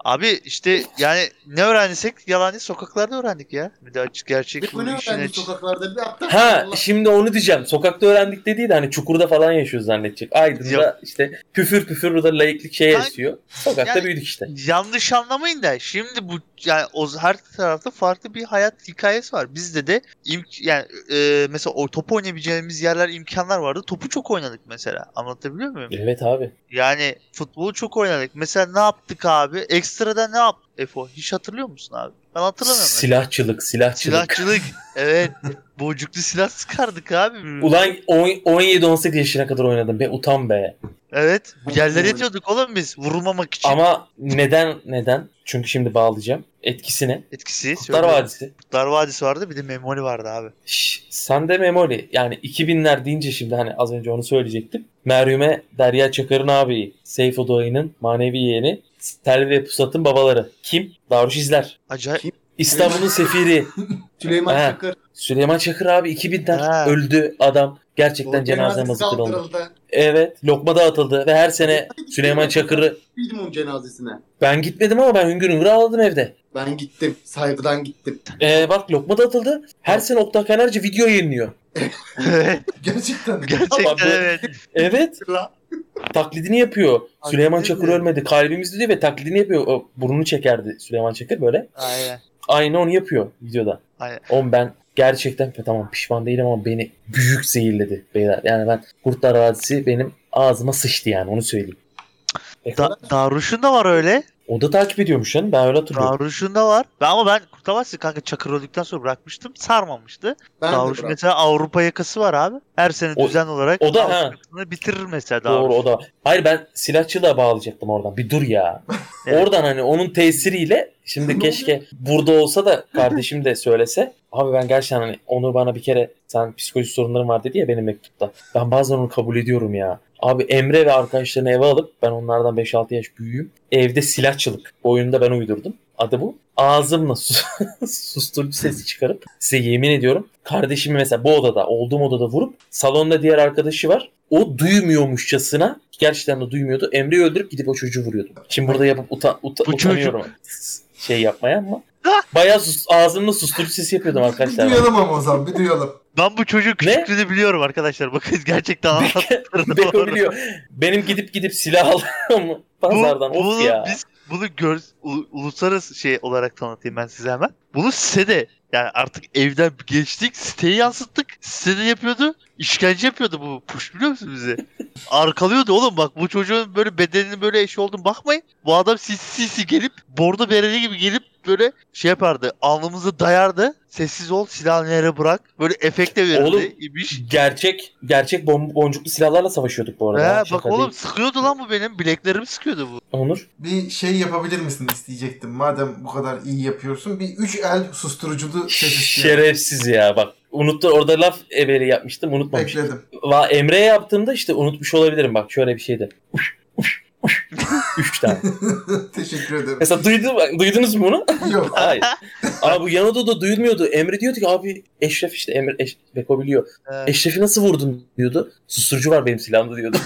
S4: Abi işte yani ne öğrendiysek yalan değil sokaklarda öğrendik ya. Bir de açık gerçek bu
S3: Bu ne
S4: işin
S3: öğrendi
S4: açık.
S3: sokaklarda bir hatta.
S1: Ha
S3: Allah-
S1: şimdi onu diyeceğim. Sokakta öğrendik dediği de hani çukurda falan yaşıyoruz zannedecek. Aydın'da
S4: Yok.
S1: işte püfür püfür burada layıklık şey
S4: Kanka-
S1: esiyor. Sokakta
S4: Yani-
S1: büyüdük işte.
S4: Yanlış anlamayın da şimdi bu yani o her tarafta farklı bir hayat hikayesi var. Bizde de imk yani e, mesela o topu oynayabileceğimiz yerler imkanlar vardı. Topu çok oynadık mesela. Anlatabiliyor muyum?
S1: Evet abi.
S4: Yani futbolu çok oynadık. Mesela ne yaptık abi? Ekstradan ne yaptık Efo? Hiç hatırlıyor musun abi? Ben hatırlamıyorum.
S1: Silahçılık, silahçılık.
S4: Silahçılık. evet. Boncuklu silah sıkardık abi.
S1: Ulan on- 17-18 yaşına kadar oynadım be utan be.
S4: Evet. Yerlere yatıyorduk oğlum biz. Vurulmamak için.
S1: Ama neden neden? Çünkü şimdi bağlayacağım. Etkisi ne?
S4: Etkisi.
S1: Kurtlar
S4: söylüyorum.
S1: Vadisi.
S4: Kurtlar Vadisi vardı bir de Memoli vardı abi.
S1: Şş, sen de memoli. Yani 2000'ler deyince şimdi hani az önce onu söyleyecektim. Meryem'e Derya Çakır'ın abi, Seyfo Doğay'ın manevi yeğeni, Selvi ve Pusat'ın babaları. Kim? Daruş İzler.
S4: Acayip.
S1: İstanbul'un sefiri
S3: Süleyman
S1: Ha.
S3: Çakır.
S1: Süleyman Çakır abi 2000'ler
S4: Ha.
S1: öldü adam. Gerçekten
S3: Doğru.
S1: cenaze
S3: Cenazesi
S1: namazı kılındı.
S3: kaldırıldı.
S1: Evet lokma dağıtıldı ve her sene Süleyman Çakır'ı
S3: Bilmem cenazesine.
S1: ben gitmedim ama ben hüngür hüngür ağladım evde.
S3: Ben gittim. Saygıdan gittim.
S1: Ee, bak lokma dağıtıldı. Her sene Oktay Kaynarca video yayınlıyor.
S4: Evet.
S2: Gerçekten.
S1: Ama bu-
S4: Gerçekten evet.
S1: Evet.
S3: La.
S1: taklidini yapıyor. Süleyman Çakır
S4: mi?
S1: ölmedi. Kalbimizde diyor ve taklidini yapıyor. O burnunu çekerdi Süleyman Çakır böyle.
S4: Aynen.
S1: Aynı onu yapıyor videoda.
S4: Aynen.
S1: On ben gerçekten tamam pişman değilim ama beni büyük zehirledi beyler. Yani ben Kurtlar Vadisi benim ağzıma sıçtı yani onu söyleyeyim.
S4: Da- Daruş'un da var öyle.
S1: O da takip ediyormuş yani ben öyle hatırlıyorum.
S4: Daruş'un da var. Ben, ama ben Kurtlar Vadisi kanka Çakır öldükten sonra bırakmıştım. Sarmamıştı.
S3: Ben
S4: Daruş
S3: de bırak.
S4: mesela Avrupa yakası var abi. Her sene
S1: O-
S4: düzen olarak
S1: o da-
S4: Avrupa
S1: ha.
S4: yakasını bitirir mesela Daruş.
S1: Doğru o da. Hayır ben silahçılığa bağlayacaktım oradan. Bir dur ya.
S4: Evet.
S1: Oradan hani onun tesiriyle şimdi keşke burada olsa da kardeşim de söylese. Abi ben gerçekten hani Onur bana bir kere sen psikoloji sorunların var dedi ya benim mektupta. Ben bazen onu kabul ediyorum ya. Abi Emre ve arkadaşlarını eve alıp ben onlardan 5-6 yaş büyüğüm. Evde silahçılık. Oyunda ben uydurdum. Adı bu. Ağzımla sus susturucu sesi çıkarıp size yemin ediyorum kardeşimi mesela bu odada olduğum odada vurup salonda diğer arkadaşı var. O duymuyormuşçasına gerçekten de duymuyordu. Emre'yi öldürüp gidip o çocuğu vuruyordum. Şimdi burada yapıp uta, uta,
S4: Bu
S1: utanıyorum şey yapmaya ama bayağı sus, ağzımla susturucu sesi yapıyordum
S2: Bir
S1: arkadaşlar.
S2: duyalım ama o zaman bir duyalım.
S4: Ben bu çocuğun
S1: Ne?
S4: küçüklüğünü biliyorum arkadaşlar. Bakın gerçekten anlattığını
S1: Beko biliyor. Benim gidip gidip silah aldım pazardan.
S4: bunu
S1: of ya.
S4: biz bunu gör, u- uluslararası şey olarak tanıtayım ben size hemen. Bunu sitede yani artık evden geçtik siteyi yansıttık. Sitede yapıyordu. işkence yapıyordu bu push biliyor musun bizi? Arkalıyordu oğlum bak bu çocuğun böyle bedeninin böyle eşi olduğunu bakmayın. Bu adam sisi sisi gelip bordo bereli gibi gelip böyle şey yapardı. Alnımızı dayardı. Sessiz ol silahını yere bırak. Böyle efekte verirdi.
S1: Oğlum,
S4: imiş.
S1: Gerçek gerçek bom- boncuklu silahlarla savaşıyorduk bu arada.
S4: He,
S1: Şaka
S4: bak oğlum
S1: değil.
S4: sıkıyordu lan bu benim. Bileklerimi sıkıyordu bu.
S1: Onur.
S2: Bir şey yapabilir misin isteyecektim. Madem bu kadar iyi yapıyorsun. Bir üç el susturuculu ses istiyorum.
S1: Şerefsiz ya bak. Unuttu orada laf eveli yapmıştım unutmamışım.
S2: Bekledim.
S1: Va Emre'ye yaptığımda işte unutmuş olabilirim bak şöyle bir şeydi. Üç tane.
S2: Teşekkür ederim.
S1: Mesela duydun, duydunuz mu bunu?
S2: Yok.
S1: Hayır. Abi bu yan odada duyulmuyordu. Emre diyordu ki abi Eşref işte Emre Eş, Beko biliyor.
S4: He.
S1: Eşref'i nasıl vurdun diyordu. Susturucu var benim silahımda diyordu.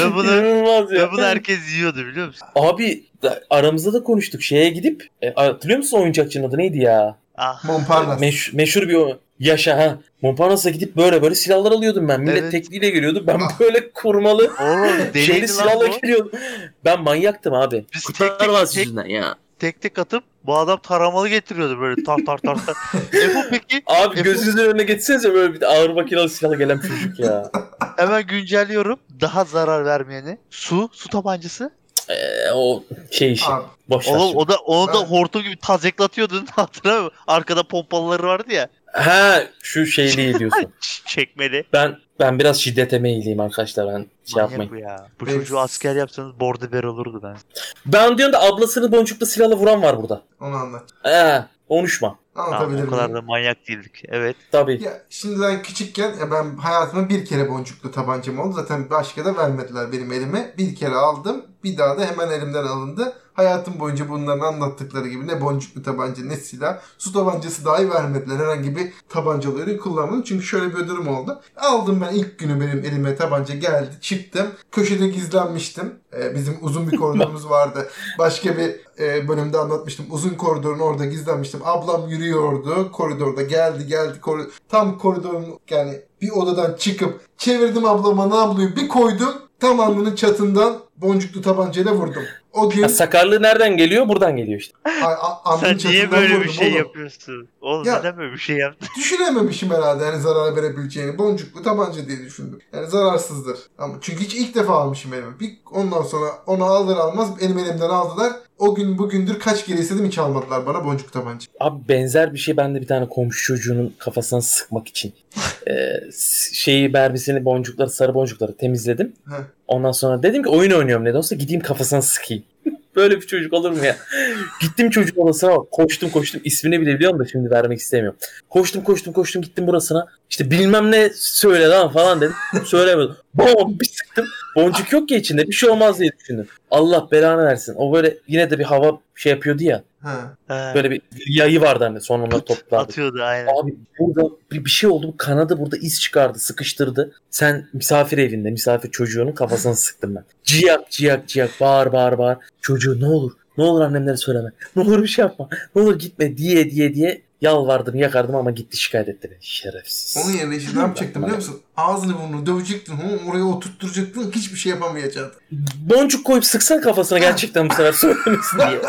S4: Ve bunu
S1: İnanılmaz ya.
S4: Ve bunu herkes yiyordu biliyor musun?
S1: Abi da- aramızda da konuştuk şeye gidip e, hatırlıyor musun oyuncakçının adı neydi ya?
S4: Ah.
S2: Montparnasse.
S1: Meş- meşhur bir o yaşa ha. Montparnasse'a gidip böyle böyle silahlar alıyordum ben. Millet
S4: Evet.
S1: tekliyle geliyordu. Ben böyle kurmalı
S4: Oğlum
S1: şeyli
S4: deliydi lan
S1: silahla
S4: bu.
S1: geliyordum. Ben manyaktım abi.
S4: Biz tek
S1: Kurtlar
S4: tek,
S1: Vadisi
S4: tek,
S1: yüzünden ya.
S4: tek tek atıp bu adam taramalı getiriyordu böyle tar tar tar tar. Epo peki
S1: Abi
S4: Efe-
S1: gözünüzün önüne geçsenize böyle bir ağır makinalı silahla gelen çocuk ya.
S4: hemen güncelliyorum. Daha zarar vermeyeni. Su, su tabancası.
S1: Ee, o şey işi.
S2: Abi,
S1: Boş ver.
S4: Oğlum
S1: şimdi.
S4: o da onu da
S2: Ben-
S4: hortum gibi tazeklatıyordun hatırlamıyor musun? Arkada pompalıları vardı ya.
S1: Ha şu şeyliği diyorsun.
S4: Ç- Çekmeli.
S1: ben ben biraz şiddete meyilliyim arkadaşlar ben şey
S4: Manyak
S1: yapmayın.
S4: bu ya. Bu
S2: Ben-
S4: çocuğu asker yapsanız bordo ber olurdu ben.
S1: Ben diyorum da ablasını boncuklu silahla vuran var burada.
S2: onu anlat.
S1: Ee, konuşma.
S4: Tamam,
S2: Anlatabilir
S4: o kadar
S2: miyim?
S4: da manyak değildik. Evet.
S1: Tabii.
S2: Ya şimdiden küçükken ya ben hayatımda bir kere boncuklu tabancam oldu. Zaten başka da vermediler benim elime. Bir kere aldım. Bir daha da hemen elimden alındı. Hayatım boyunca bunların anlattıkları gibi ne boncuklu tabanca ne silah. Su tabancası dahi vermediler. Herhangi bir tabancaları kullanmadım. Çünkü şöyle bir durum oldu. Aldım ben ilk günü benim elime tabanca geldi. Çıktım. Köşede gizlenmiştim. Ee, bizim uzun bir koridorumuz vardı. Başka bir e, bölümde anlatmıştım. Uzun koridorun orada gizlenmiştim. Ablam yürüyordu koridorda. Geldi geldi. Kori- tam koridorun yani bir odadan çıkıp çevirdim ablama namluyu bir koydum. Tam alnının çatından boncuklu tabancayla vurdum. O gün
S1: Ya, sakarlığı nereden geliyor? Buradan geliyor işte.
S2: a- a- alnının
S4: Sen niye
S2: çatından
S4: böyle bir
S2: vurdum
S4: şey
S2: oğlum.
S4: yapıyorsun? Oğlum
S2: Ya-
S4: neden böyle bir şey yaptın?
S2: Düşünememişim herhalde yani zarar verebileceğini. Boncuklu tabanca diye düşündüm. Yani zararsızdır. Ama çünkü hiç ilk defa almışım elime. Bir, ondan sonra onu alır almaz benim elimden aldılar. O gün bugündür kaç kere istedim hiç almadılar bana boncuk tabanca.
S1: Abi benzer bir şey ben de bir tane komşu çocuğunun kafasına sıkmak için eee, s- şeyi berbisini boncukları sarı boncukları temizledim.
S2: Heh.
S1: Ondan sonra dedim ki oyun oynuyorum ne de olsa gideyim kafasına sıkayım. Böyle bir çocuk olur mu ya? Gittim çocuk odasına bak, koştum koştum ismini bile biliyorum da şimdi vermek istemiyorum. Koştum koştum koştum gittim burasına işte bilmem ne söyle lan falan dedim. Söylemedim. Bom bir sıktım. Boncuk yok ya içinde bir şey olmaz diye düşündüm. Allah belanı versin. O böyle yine de bir hava şey yapıyordu ya.
S2: Ha.
S4: Ha,
S1: Böyle bir yayı vardı hani sonra onları
S4: pıt
S1: topladı.
S4: atıyordu aynen.
S1: Abi burada bir, bir şey oldu. Bu kanadı burada iz çıkardı. Sıkıştırdı. Sen misafir evinde misafir çocuğunun kafasını sıktın ben. Ciyak ciyak ciyak bağır bağır bağır. Çocuğu ne olur ne olur annemlere söyleme. Ne olur bir şey yapma. Ne olur gitme diye diye diye yalvardım yakardım ama gitti şikayet etti beni. Şerefsiz.
S2: Onun yerine işte ne yapacaktım biliyor musun? Ağzını burnunu dövecektin. hı, Oraya oturtturacaktın. Hiçbir şey yapamayacaktın.
S1: Boncuk koyup sıksan kafasına gerçekten bu sefer söylemesin diye.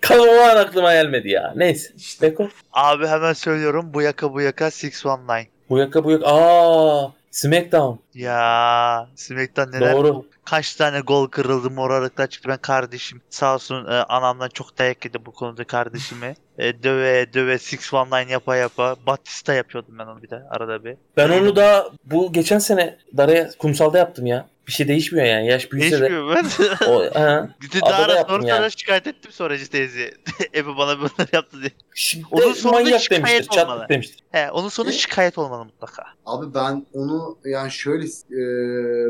S1: Kalabalığa aklıma gelmedi ya. Neyse.
S2: İşte.
S1: Beko.
S4: Abi hemen söylüyorum bu yaka bu yaka 619.
S1: Bu yaka bu yaka. Aa, Smackdown.
S4: Ya SmackDown neler
S1: Doğru.
S4: kaç tane gol kırıldı moralıklar çıktı ben kardeşim sağ olsun e, anamdan çok dayak yedi bu konuda kardeşimi e, döve döve 619 yapa yapa Batista yapıyordum ben onu bir de arada bir
S1: Ben onu daha bu geçen sene Daraya kumsalda yaptım ya. Bir şey değişmiyor yani. Yaş büyüse de.
S4: değişmiyor ben
S1: O, ha.
S4: gitti
S1: Adada
S4: daha sonra
S1: yaptım yani.
S4: sonra şikayet ettim sonracı teyze Ebe bana bunları yaptı diye
S1: Şimdi
S4: Onun
S1: de
S4: sonunda
S1: manyak
S4: şikayet
S1: demiştir.
S4: olmalı.
S1: Çatlık demiştir.
S4: He, onun sonu
S1: E?
S3: Ne?
S4: şikayet olmalı mutlaka.
S3: Abi ben onu yani şöyle e,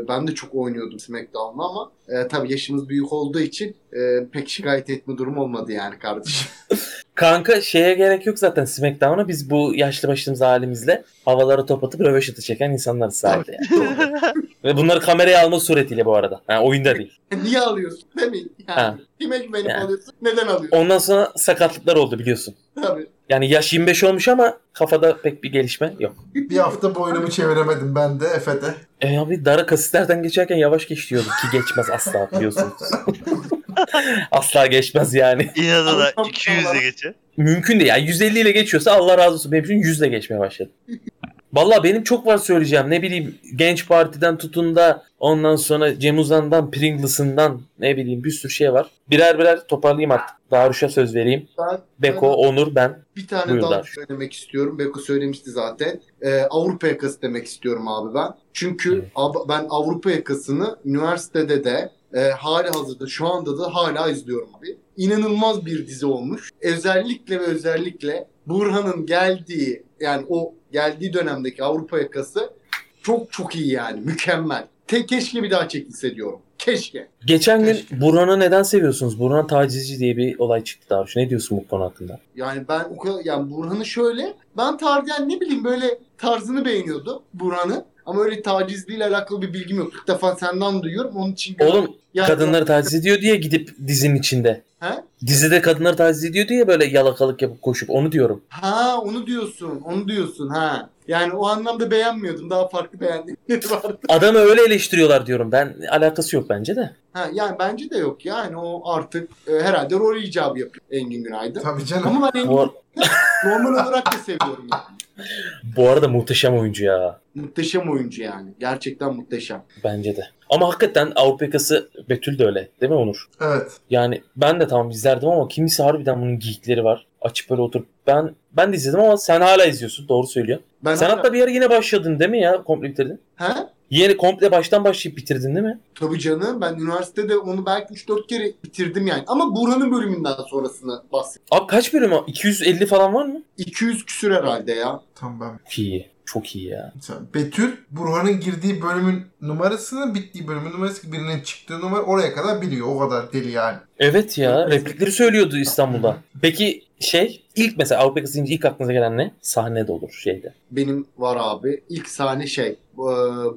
S3: ben de çok oynuyordum SmackDown'la ama e, tabii yaşımız büyük olduğu için e, pek şikayet etme durumu olmadı yani kardeşim.
S1: Kanka şeye gerek yok zaten SmackDown'a. Biz bu yaşlı başımız halimizle havalara top atıp röveşata çeken insanlarız sahilde. Yani. Ve bunları kameraya alma suretiyle bu arada. Ha, oyunda değil.
S3: Niye alıyorsun değil mi? Yani,
S1: Ha.
S3: Kime güvenip
S1: Yani.
S3: alıyorsun? Neden alıyorsun?
S1: Ondan sonra sakatlıklar oldu biliyorsun.
S3: Tabii.
S1: Yani yaş 25 olmuş ama kafada pek bir gelişme yok.
S2: Bir hafta boynumu çeviremedim ben de Efe'de.
S1: E abi dara kasislerden geçerken yavaş geç diyorduk ki geçmez asla biliyorsunuz. asla geçmez yani.
S4: İnadına
S3: Allah'ım
S4: 200'e
S3: Allah.
S4: geçe.
S1: Mümkün değil. Yani 150 ile geçiyorsa Allah razı olsun. Benim için 100 ile geçmeye başladı. Valla benim çok var söyleyeceğim. Ne bileyim Genç Parti'den tutun da ondan sonra Cem Uzan'dan Pringles'ından ne bileyim bir sürü şey var. Birer birer toparlayayım artık. Darüş'e söz vereyim.
S3: Ben
S1: Beko, Onur, ben.
S3: bir tane
S1: Buyur
S3: daha
S1: Dar.
S3: söylemek istiyorum. Beko söylemişti zaten. E, Avrupa yakası demek istiyorum abi ben. Çünkü
S1: Evet.
S3: ab- ben Avrupa yakasını üniversitede de e, hali hazırda şu anda da hala izliyorum abi. İnanılmaz bir dizi olmuş. Özellikle ve özellikle Burhan'ın geldiği yani o geldiği dönemdeki Avrupa yakası çok çok iyi yani mükemmel. Tek keşke bir daha çekilse diyorum. Keşke.
S1: Geçen gün
S2: Keşke.
S1: Burhan'ı neden seviyorsunuz? Burhan tacizci diye bir olay çıktı Daruş. Ne diyorsun bu konu hakkında?
S3: Yani ben o kadar yani Burhan'ı şöyle ben tarzı yani ne bileyim böyle tarzını beğeniyordum Burhan'ı. Ama öyle tacizliyle alakalı bir bilgim yok. İlk defa senden duyuyorum. Onun için
S1: Oğlum
S3: Yani-
S1: kadınları taciz ediyor diye gidip dizinin içinde.
S3: He?
S1: Dizide kadınları taciz ediyor diye böyle yalakalık yapıp koşup onu diyorum.
S3: ha onu diyorsun. Onu diyorsun ha. Yani o anlamda beğenmiyordum. Daha farklı beğendiğim vardı.
S1: Adamı öyle eleştiriyorlar diyorum. Ben alakası yok bence de.
S3: Ha, yani bence de yok. Yani o artık e, herhalde rol icabı yapıyor Engin Günaydın.
S2: Tabii canım.
S3: Ama ben Engin
S1: Bu,
S3: normal olarak da seviyorum. yani.
S1: bu arada muhteşem oyuncu ya.
S3: Muhteşem oyuncu yani. Gerçekten muhteşem.
S1: Bence de. Ama hakikaten Avrupa yakası Betül de öyle. Değil mi Onur?
S2: Evet.
S1: Yani ben de tamam izlerdim ama kimisi harbiden bunun geyikleri var. Açıp böyle oturup. Ben ben de izledim ama sen hala izliyorsun. Doğru söylüyorsun.
S3: Ben
S1: sen hatta bir ara yine başladın değil mi ya? Komple bitirdin.
S3: Ha?
S1: Yeni komple baştan başlayıp bitirdin değil mi?
S3: Tabii canım ben üniversitede onu belki 3-4 kere bitirdim yani. Ama Burhan'ın bölümünden sonrasını bahsediyorum.
S1: Abi kaç bölüm? o? 250 falan var mı?
S3: 200 küsür herhalde ya.
S2: Tamam ben.
S1: Çok iyi. Çok iyi ya.
S2: Sen- Betül Burhan'ın girdiği bölümün numarasını, bittiği bölümün numarası, birinin çıktığı numara oraya kadar biliyor. O kadar deli yani.
S1: Evet ya. Replikleri söylüyordu İstanbul'da. Peki şey ilk mesela Avrupa yakası deyince ilk aklınıza gelen ne? Sahnede olur şeyde.
S3: Benim var abi. İlk sahne şey. e,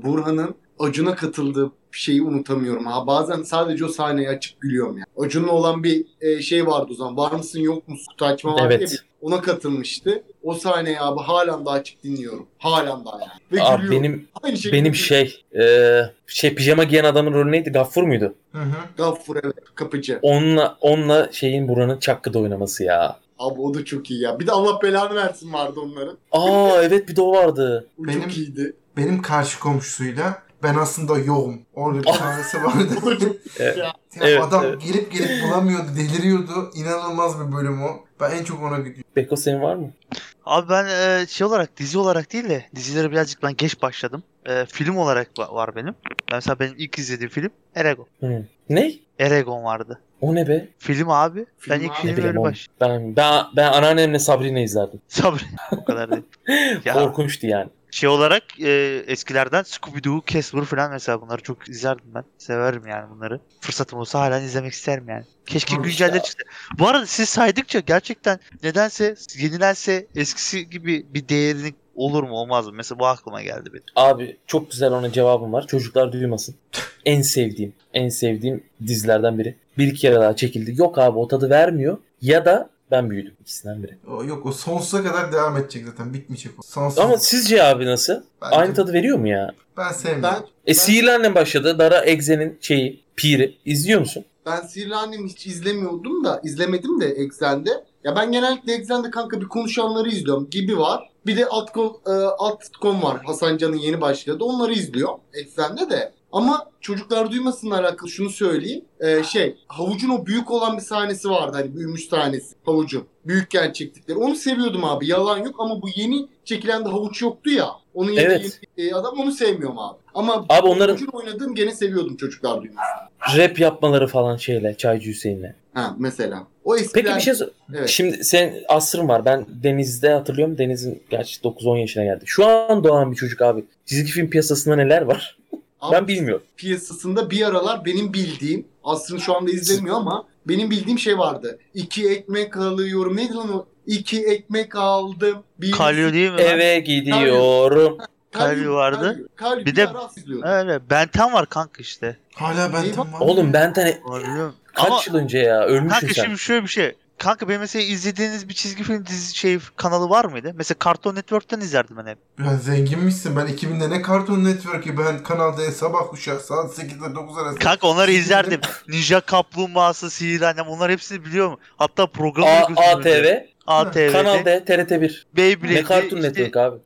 S3: Burhan'ın Acun'a katıldığı şeyi unutamıyorum. Ha bazen sadece o sahneyi açıp gülüyorum ya. Acun'la olan bir e, şey vardı o zaman. Var mısın yok musun kutu açma vardı ya
S1: Evet.
S3: bir. Ona katılmıştı. O sahneyi abi halen daha açıp dinliyorum. Halen daha yani. Ve
S1: Abi
S3: gülüyorum.
S1: benim
S3: Aynı şekilde
S1: benim şey e, şey pijama giyen adamın rolü neydi? Gaffur muydu?
S2: Hı hı.
S3: Gaffur evet kapıcı.
S1: Onunla onunla şeyin buranın Çakkı'da oynaması ya.
S3: Abi o da çok iyi ya. Bir de Allah belanı versin vardı onların.
S1: Aa evet bir de o vardı.
S3: O
S2: Benim-
S3: çok iyiydi.
S2: Benim karşı komşusuyla Ben aslında yoğum. Orada bir tanesi vardı.
S3: Bu da çok-
S2: Ya
S1: Evet,
S2: adam
S1: evet.
S2: gelip gelip bulamıyordu, deliriyordu. İnanılmaz bir bölüm o. Ben en çok ona gidiyorum.
S1: Beko senin var mı?
S4: Abi ben e, şey olarak dizi olarak değil de dizilere birazcık ben geç başladım. E, film olarak va- var benim. Ben mesela benim ilk izlediğim film Eragon.
S1: Ne?
S4: Eragon vardı.
S1: O ne be?
S4: Film abi.
S3: Film
S4: ben ilk
S3: abi.
S1: Ne
S3: Benim
S4: filmi
S1: bileyim
S4: öyle
S1: oğlum.
S4: baş.
S1: Ben, ben, ben anneannemle Sabrina izlerdim.
S4: Sabri. o kadar değil. Ya
S1: Korkunçtu yani.
S4: şey olarak e, eskilerden Scooby-Doo, Casper falan mesela bunları çok izlerdim ben. Severim yani bunları. Fırsatım olsa halen izlemek isterim yani. Keşke
S2: Tamam
S4: güncelleri çıksa. Bu arada siz saydıkça gerçekten nedense yenilense eskisi gibi bir değerini olur mu olmaz mı? Mesela bu aklıma geldi benim.
S1: Abi çok güzel ona cevabım var. Çocuklar duymasın. En sevdiğim, en sevdiğim dizilerden biri. Bir iki kere daha çekildi. Yok abi o tadı vermiyor. Ya da ben büyüdüm ikisinden biri.
S2: O, yok o sonsuza kadar devam edecek zaten. Bitmeyecek o. Sonsuz.
S1: Ama sizce abi nasıl?
S2: Bence-
S1: Aynı tadı veriyor mu ya?
S2: Ben sevmiyorum.
S3: Ben,
S1: E Sihirli Annem başladı. Dara Egze'nin şeyi, piri. İzliyor musun?
S3: ben Sihirli Annem'i hiç izlemiyordum da izlemedim de Exxen'de. Ya ben genellikle Exxen'de kanka bir konuşanları izliyorum gibi var. Bir de Altcom, e, Altcom var. Hasan Can'ın yeni başladı. Onları izliyorum Exxen'de de. Ama çocuklar duymasınla alakalı şunu söyleyeyim. E, şey havucun o büyük olan bir sahnesi vardı. Hani büyümüş sahnesi havucun. Büyükken çektikleri. Onu seviyordum abi. Yalan yok ama bu yeni çekilen de havuç yoktu ya. Onun yerine
S1: Evet.
S3: yeni, e, adam onu sevmiyorum abi. Ama
S1: Abi onların
S3: havucun oynadığım gene seviyordum çocuklar duymasın.
S1: rap yapmaları falan şeyle, Çaycı Hüseyin'le.
S3: Ha mesela. O eskiler.
S1: Peki bir şey sor-
S3: Evet.
S1: Şimdi sen asrın var. Ben Deniz'de hatırlıyorum. Deniz'in gerçi 9-10 yaşına geldi. Şu an doğan bir çocuk abi. Çizgi film piyasasında neler var?
S3: Abi
S1: Ben bilmiyorum.
S3: piyasasında bir aralar benim bildiğim, Asrın şu anda izlemiyor ama benim bildiğim şey vardı. İki ekmek alıyorum. Neydi lan o? İki ekmek aldım. Bir
S4: Kalyo değil mi? lan?
S1: Eve gidiyorum.
S4: Kalyo vardı.
S3: Kalyo, kalyo.
S4: Bir
S3: Bir
S4: de-
S3: de ara izliyordum.
S4: Öyle. Benten var kanka işte.
S2: Hala ben
S3: Eyvah.
S2: tamam.
S1: Oğlum ben tane
S4: Anlıyorum.
S1: kaç
S4: Ama
S1: yıl önce ya ölmüşsün
S4: kanka
S1: sen.
S4: şimdi şöyle bir şey. Kanka benim mesela izlediğiniz bir çizgi film dizi şey kanalı var mıydı? Mesela Cartoon Network'ten izlerdim ben hep.
S2: Ben zenginmişsin. Ben 2000'de ne Cartoon Network'ü ben Kanal D sabah kuşağı saat 8'de 9 arası.
S4: Kanka onları izlerdim. Ninja Kaplumbağası, Sihirli Annem onları hepsini biliyorum. Hatta programı
S1: A-
S4: da gözümün önünde.
S1: ATV,
S4: ATV'de.
S1: Kanal D, TRT1.
S4: Beyblade'de.
S1: Ne Cartoon
S4: işte
S1: Network abi.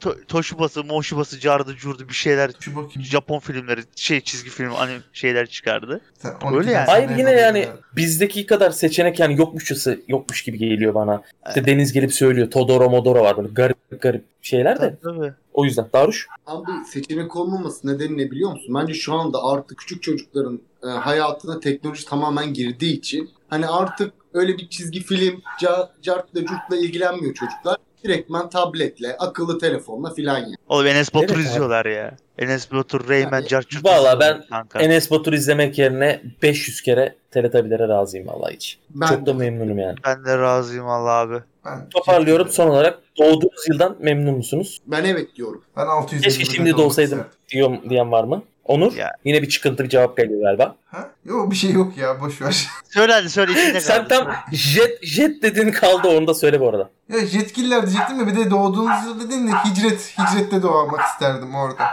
S4: To- Toshibası, Moshibası, Cardı, Curdu bir şeyler.
S2: Şu bakayım.
S4: Japon filmleri, şey çizgi film, hani şeyler çıkardı.
S2: Sen
S4: Öyle yani.
S1: Hayır yine yani bizdeki kadar seçenek yani yokmuşçası yokmuş gibi geliyor bana. İşte Deniz gelip söylüyor. Todoro Modoro var böyle garip garip şeyler de.
S4: Tabii, tabii.
S1: O yüzden Daruş.
S3: Abi seçenek olmaması nedeni ne biliyor musun? Bence şu anda artık küçük çocukların e, hayatına teknoloji tamamen girdiği için hani artık öyle bir çizgi film ca- cartla curtla ilgilenmiyor çocuklar. Direktmen tabletle, akıllı telefonla filan yani.
S4: Oğlum Enes Batur
S1: Evet abi.
S4: izliyorlar ya. Enes Batur, Rayman,
S3: Yani,
S4: Car Curdu
S1: valla
S4: izliyorlar
S1: ben
S4: kanka.
S1: Enes Batur izlemek yerine 500 kere Teletabilere razıyım vallahi hiç.
S3: Ben
S1: Çok da memnunum yani.
S4: Ben de razıyım Allah abi.
S2: Ben, şey
S1: Toparlıyorum son olarak doğduğunuz yıldan memnun musunuz?
S3: ben evet diyorum.
S2: Ben 600
S1: Keşke şimdi de olsaydım diyorum diyen var mı? Onur
S4: Ya.
S1: yine bir çıkıntı bir cevap geliyor galiba.
S2: Ha? Yok bir şey yok ya boş ver.
S4: Söyle hadi söyle içinde kaldı.
S1: Sen tam jet jet dedin kaldı onu da söyle bu arada.
S2: Ya yetkililer diyecektim de bir de doğduğunuz yıl dedin de hicret, hicrette doğmak isterdim orada.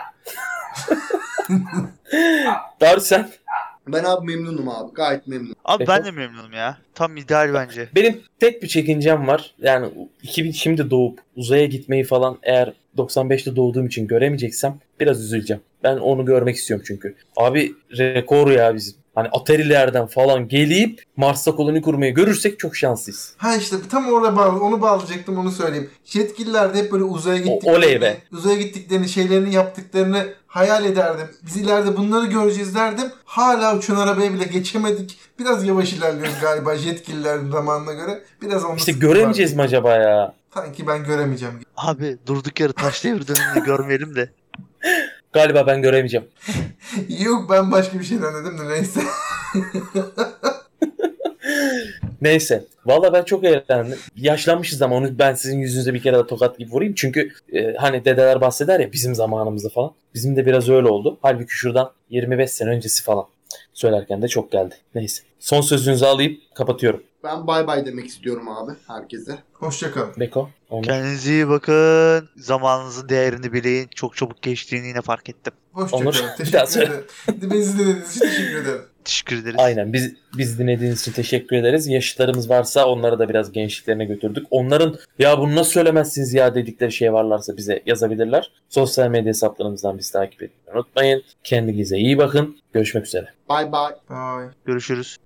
S1: Darü sen
S3: Ben abi memnunum abi. Gayet memnunum.
S4: Abi ben
S1: Beko.
S4: de memnunum ya. Tam ideal bence.
S1: benim tek bir çekincem var. Yani 2000 şimdi doğup uzaya gitmeyi falan eğer 95'te doğduğum için göremeyeceksem biraz üzüleceğim. Ben onu görmek istiyorum çünkü. Abi rekor ya bizim. Hani Atari'lerden falan gelip Mars'ta koloni kurmayı görürsek çok şanslıyız.
S2: Ha işte tam orada bağlı, onu bağlayacaktım onu söyleyeyim. Yetkililer de hep böyle
S1: oley
S2: uzaya gittiklerini,
S1: be.
S2: uzaya gittiklerini, şeylerini yaptıklarını hayal ederdim. Biz ileride bunları göreceğiz derdim. Hala uçan arabaya bile geçemedik. Biraz yavaş ilerliyoruz galiba yetkililerin zamanına göre. Biraz onda
S1: İşte
S2: sıkıntı
S1: göremeyeceğiz
S2: var.
S1: mi acaba ya?
S2: Sanki ben göremeyeceğim. gibi.
S4: Abi durduk yere taş devir dönümünü görmeyelim de.
S1: Galiba ben göremeyeceğim.
S2: Yok ben başka bir şeyden dedim de neyse.
S1: Neyse. Valla ben çok eğlendim. Yaşlanmışız ama onu ben sizin yüzünüze bir kere de tokat gibi vurayım. Çünkü e, hani dedeler bahseder ya bizim zamanımızda falan. Bizim de biraz öyle oldu. Halbuki şuradan 25 sene öncesi falan. Söylerken de çok geldi. Neyse. Son sözünüzü alayım. Kapatıyorum.
S3: Ben bay bay demek istiyorum abi herkese.
S2: Hoşçakalın.
S1: Beko. Onur.
S4: Kendinize iyi bakın. Zamanınızın değerini bilin. Çok çabuk geçtiğini yine fark ettim.
S1: Onur,
S2: Hoşçakalın.
S1: bir daha
S2: Teşekkür
S1: söyle.
S2: ederim. Beni izlediğiniz için teşekkür ederim.
S4: Teşekkür ederiz.
S1: Aynen biz biz dinlediğiniz için teşekkür ederiz. Yaşıtlarımız varsa onlara da biraz gençliklerine götürdük. Onların ya bunu nasıl söylemezsiniz ya dedikleri şey varlarsa bize yazabilirler. Sosyal medya hesaplarımızdan bizi takip etmeyi unutmayın. Kendinize iyi bakın. Görüşmek üzere.
S3: Bay bay.
S2: Bye.
S4: Görüşürüz.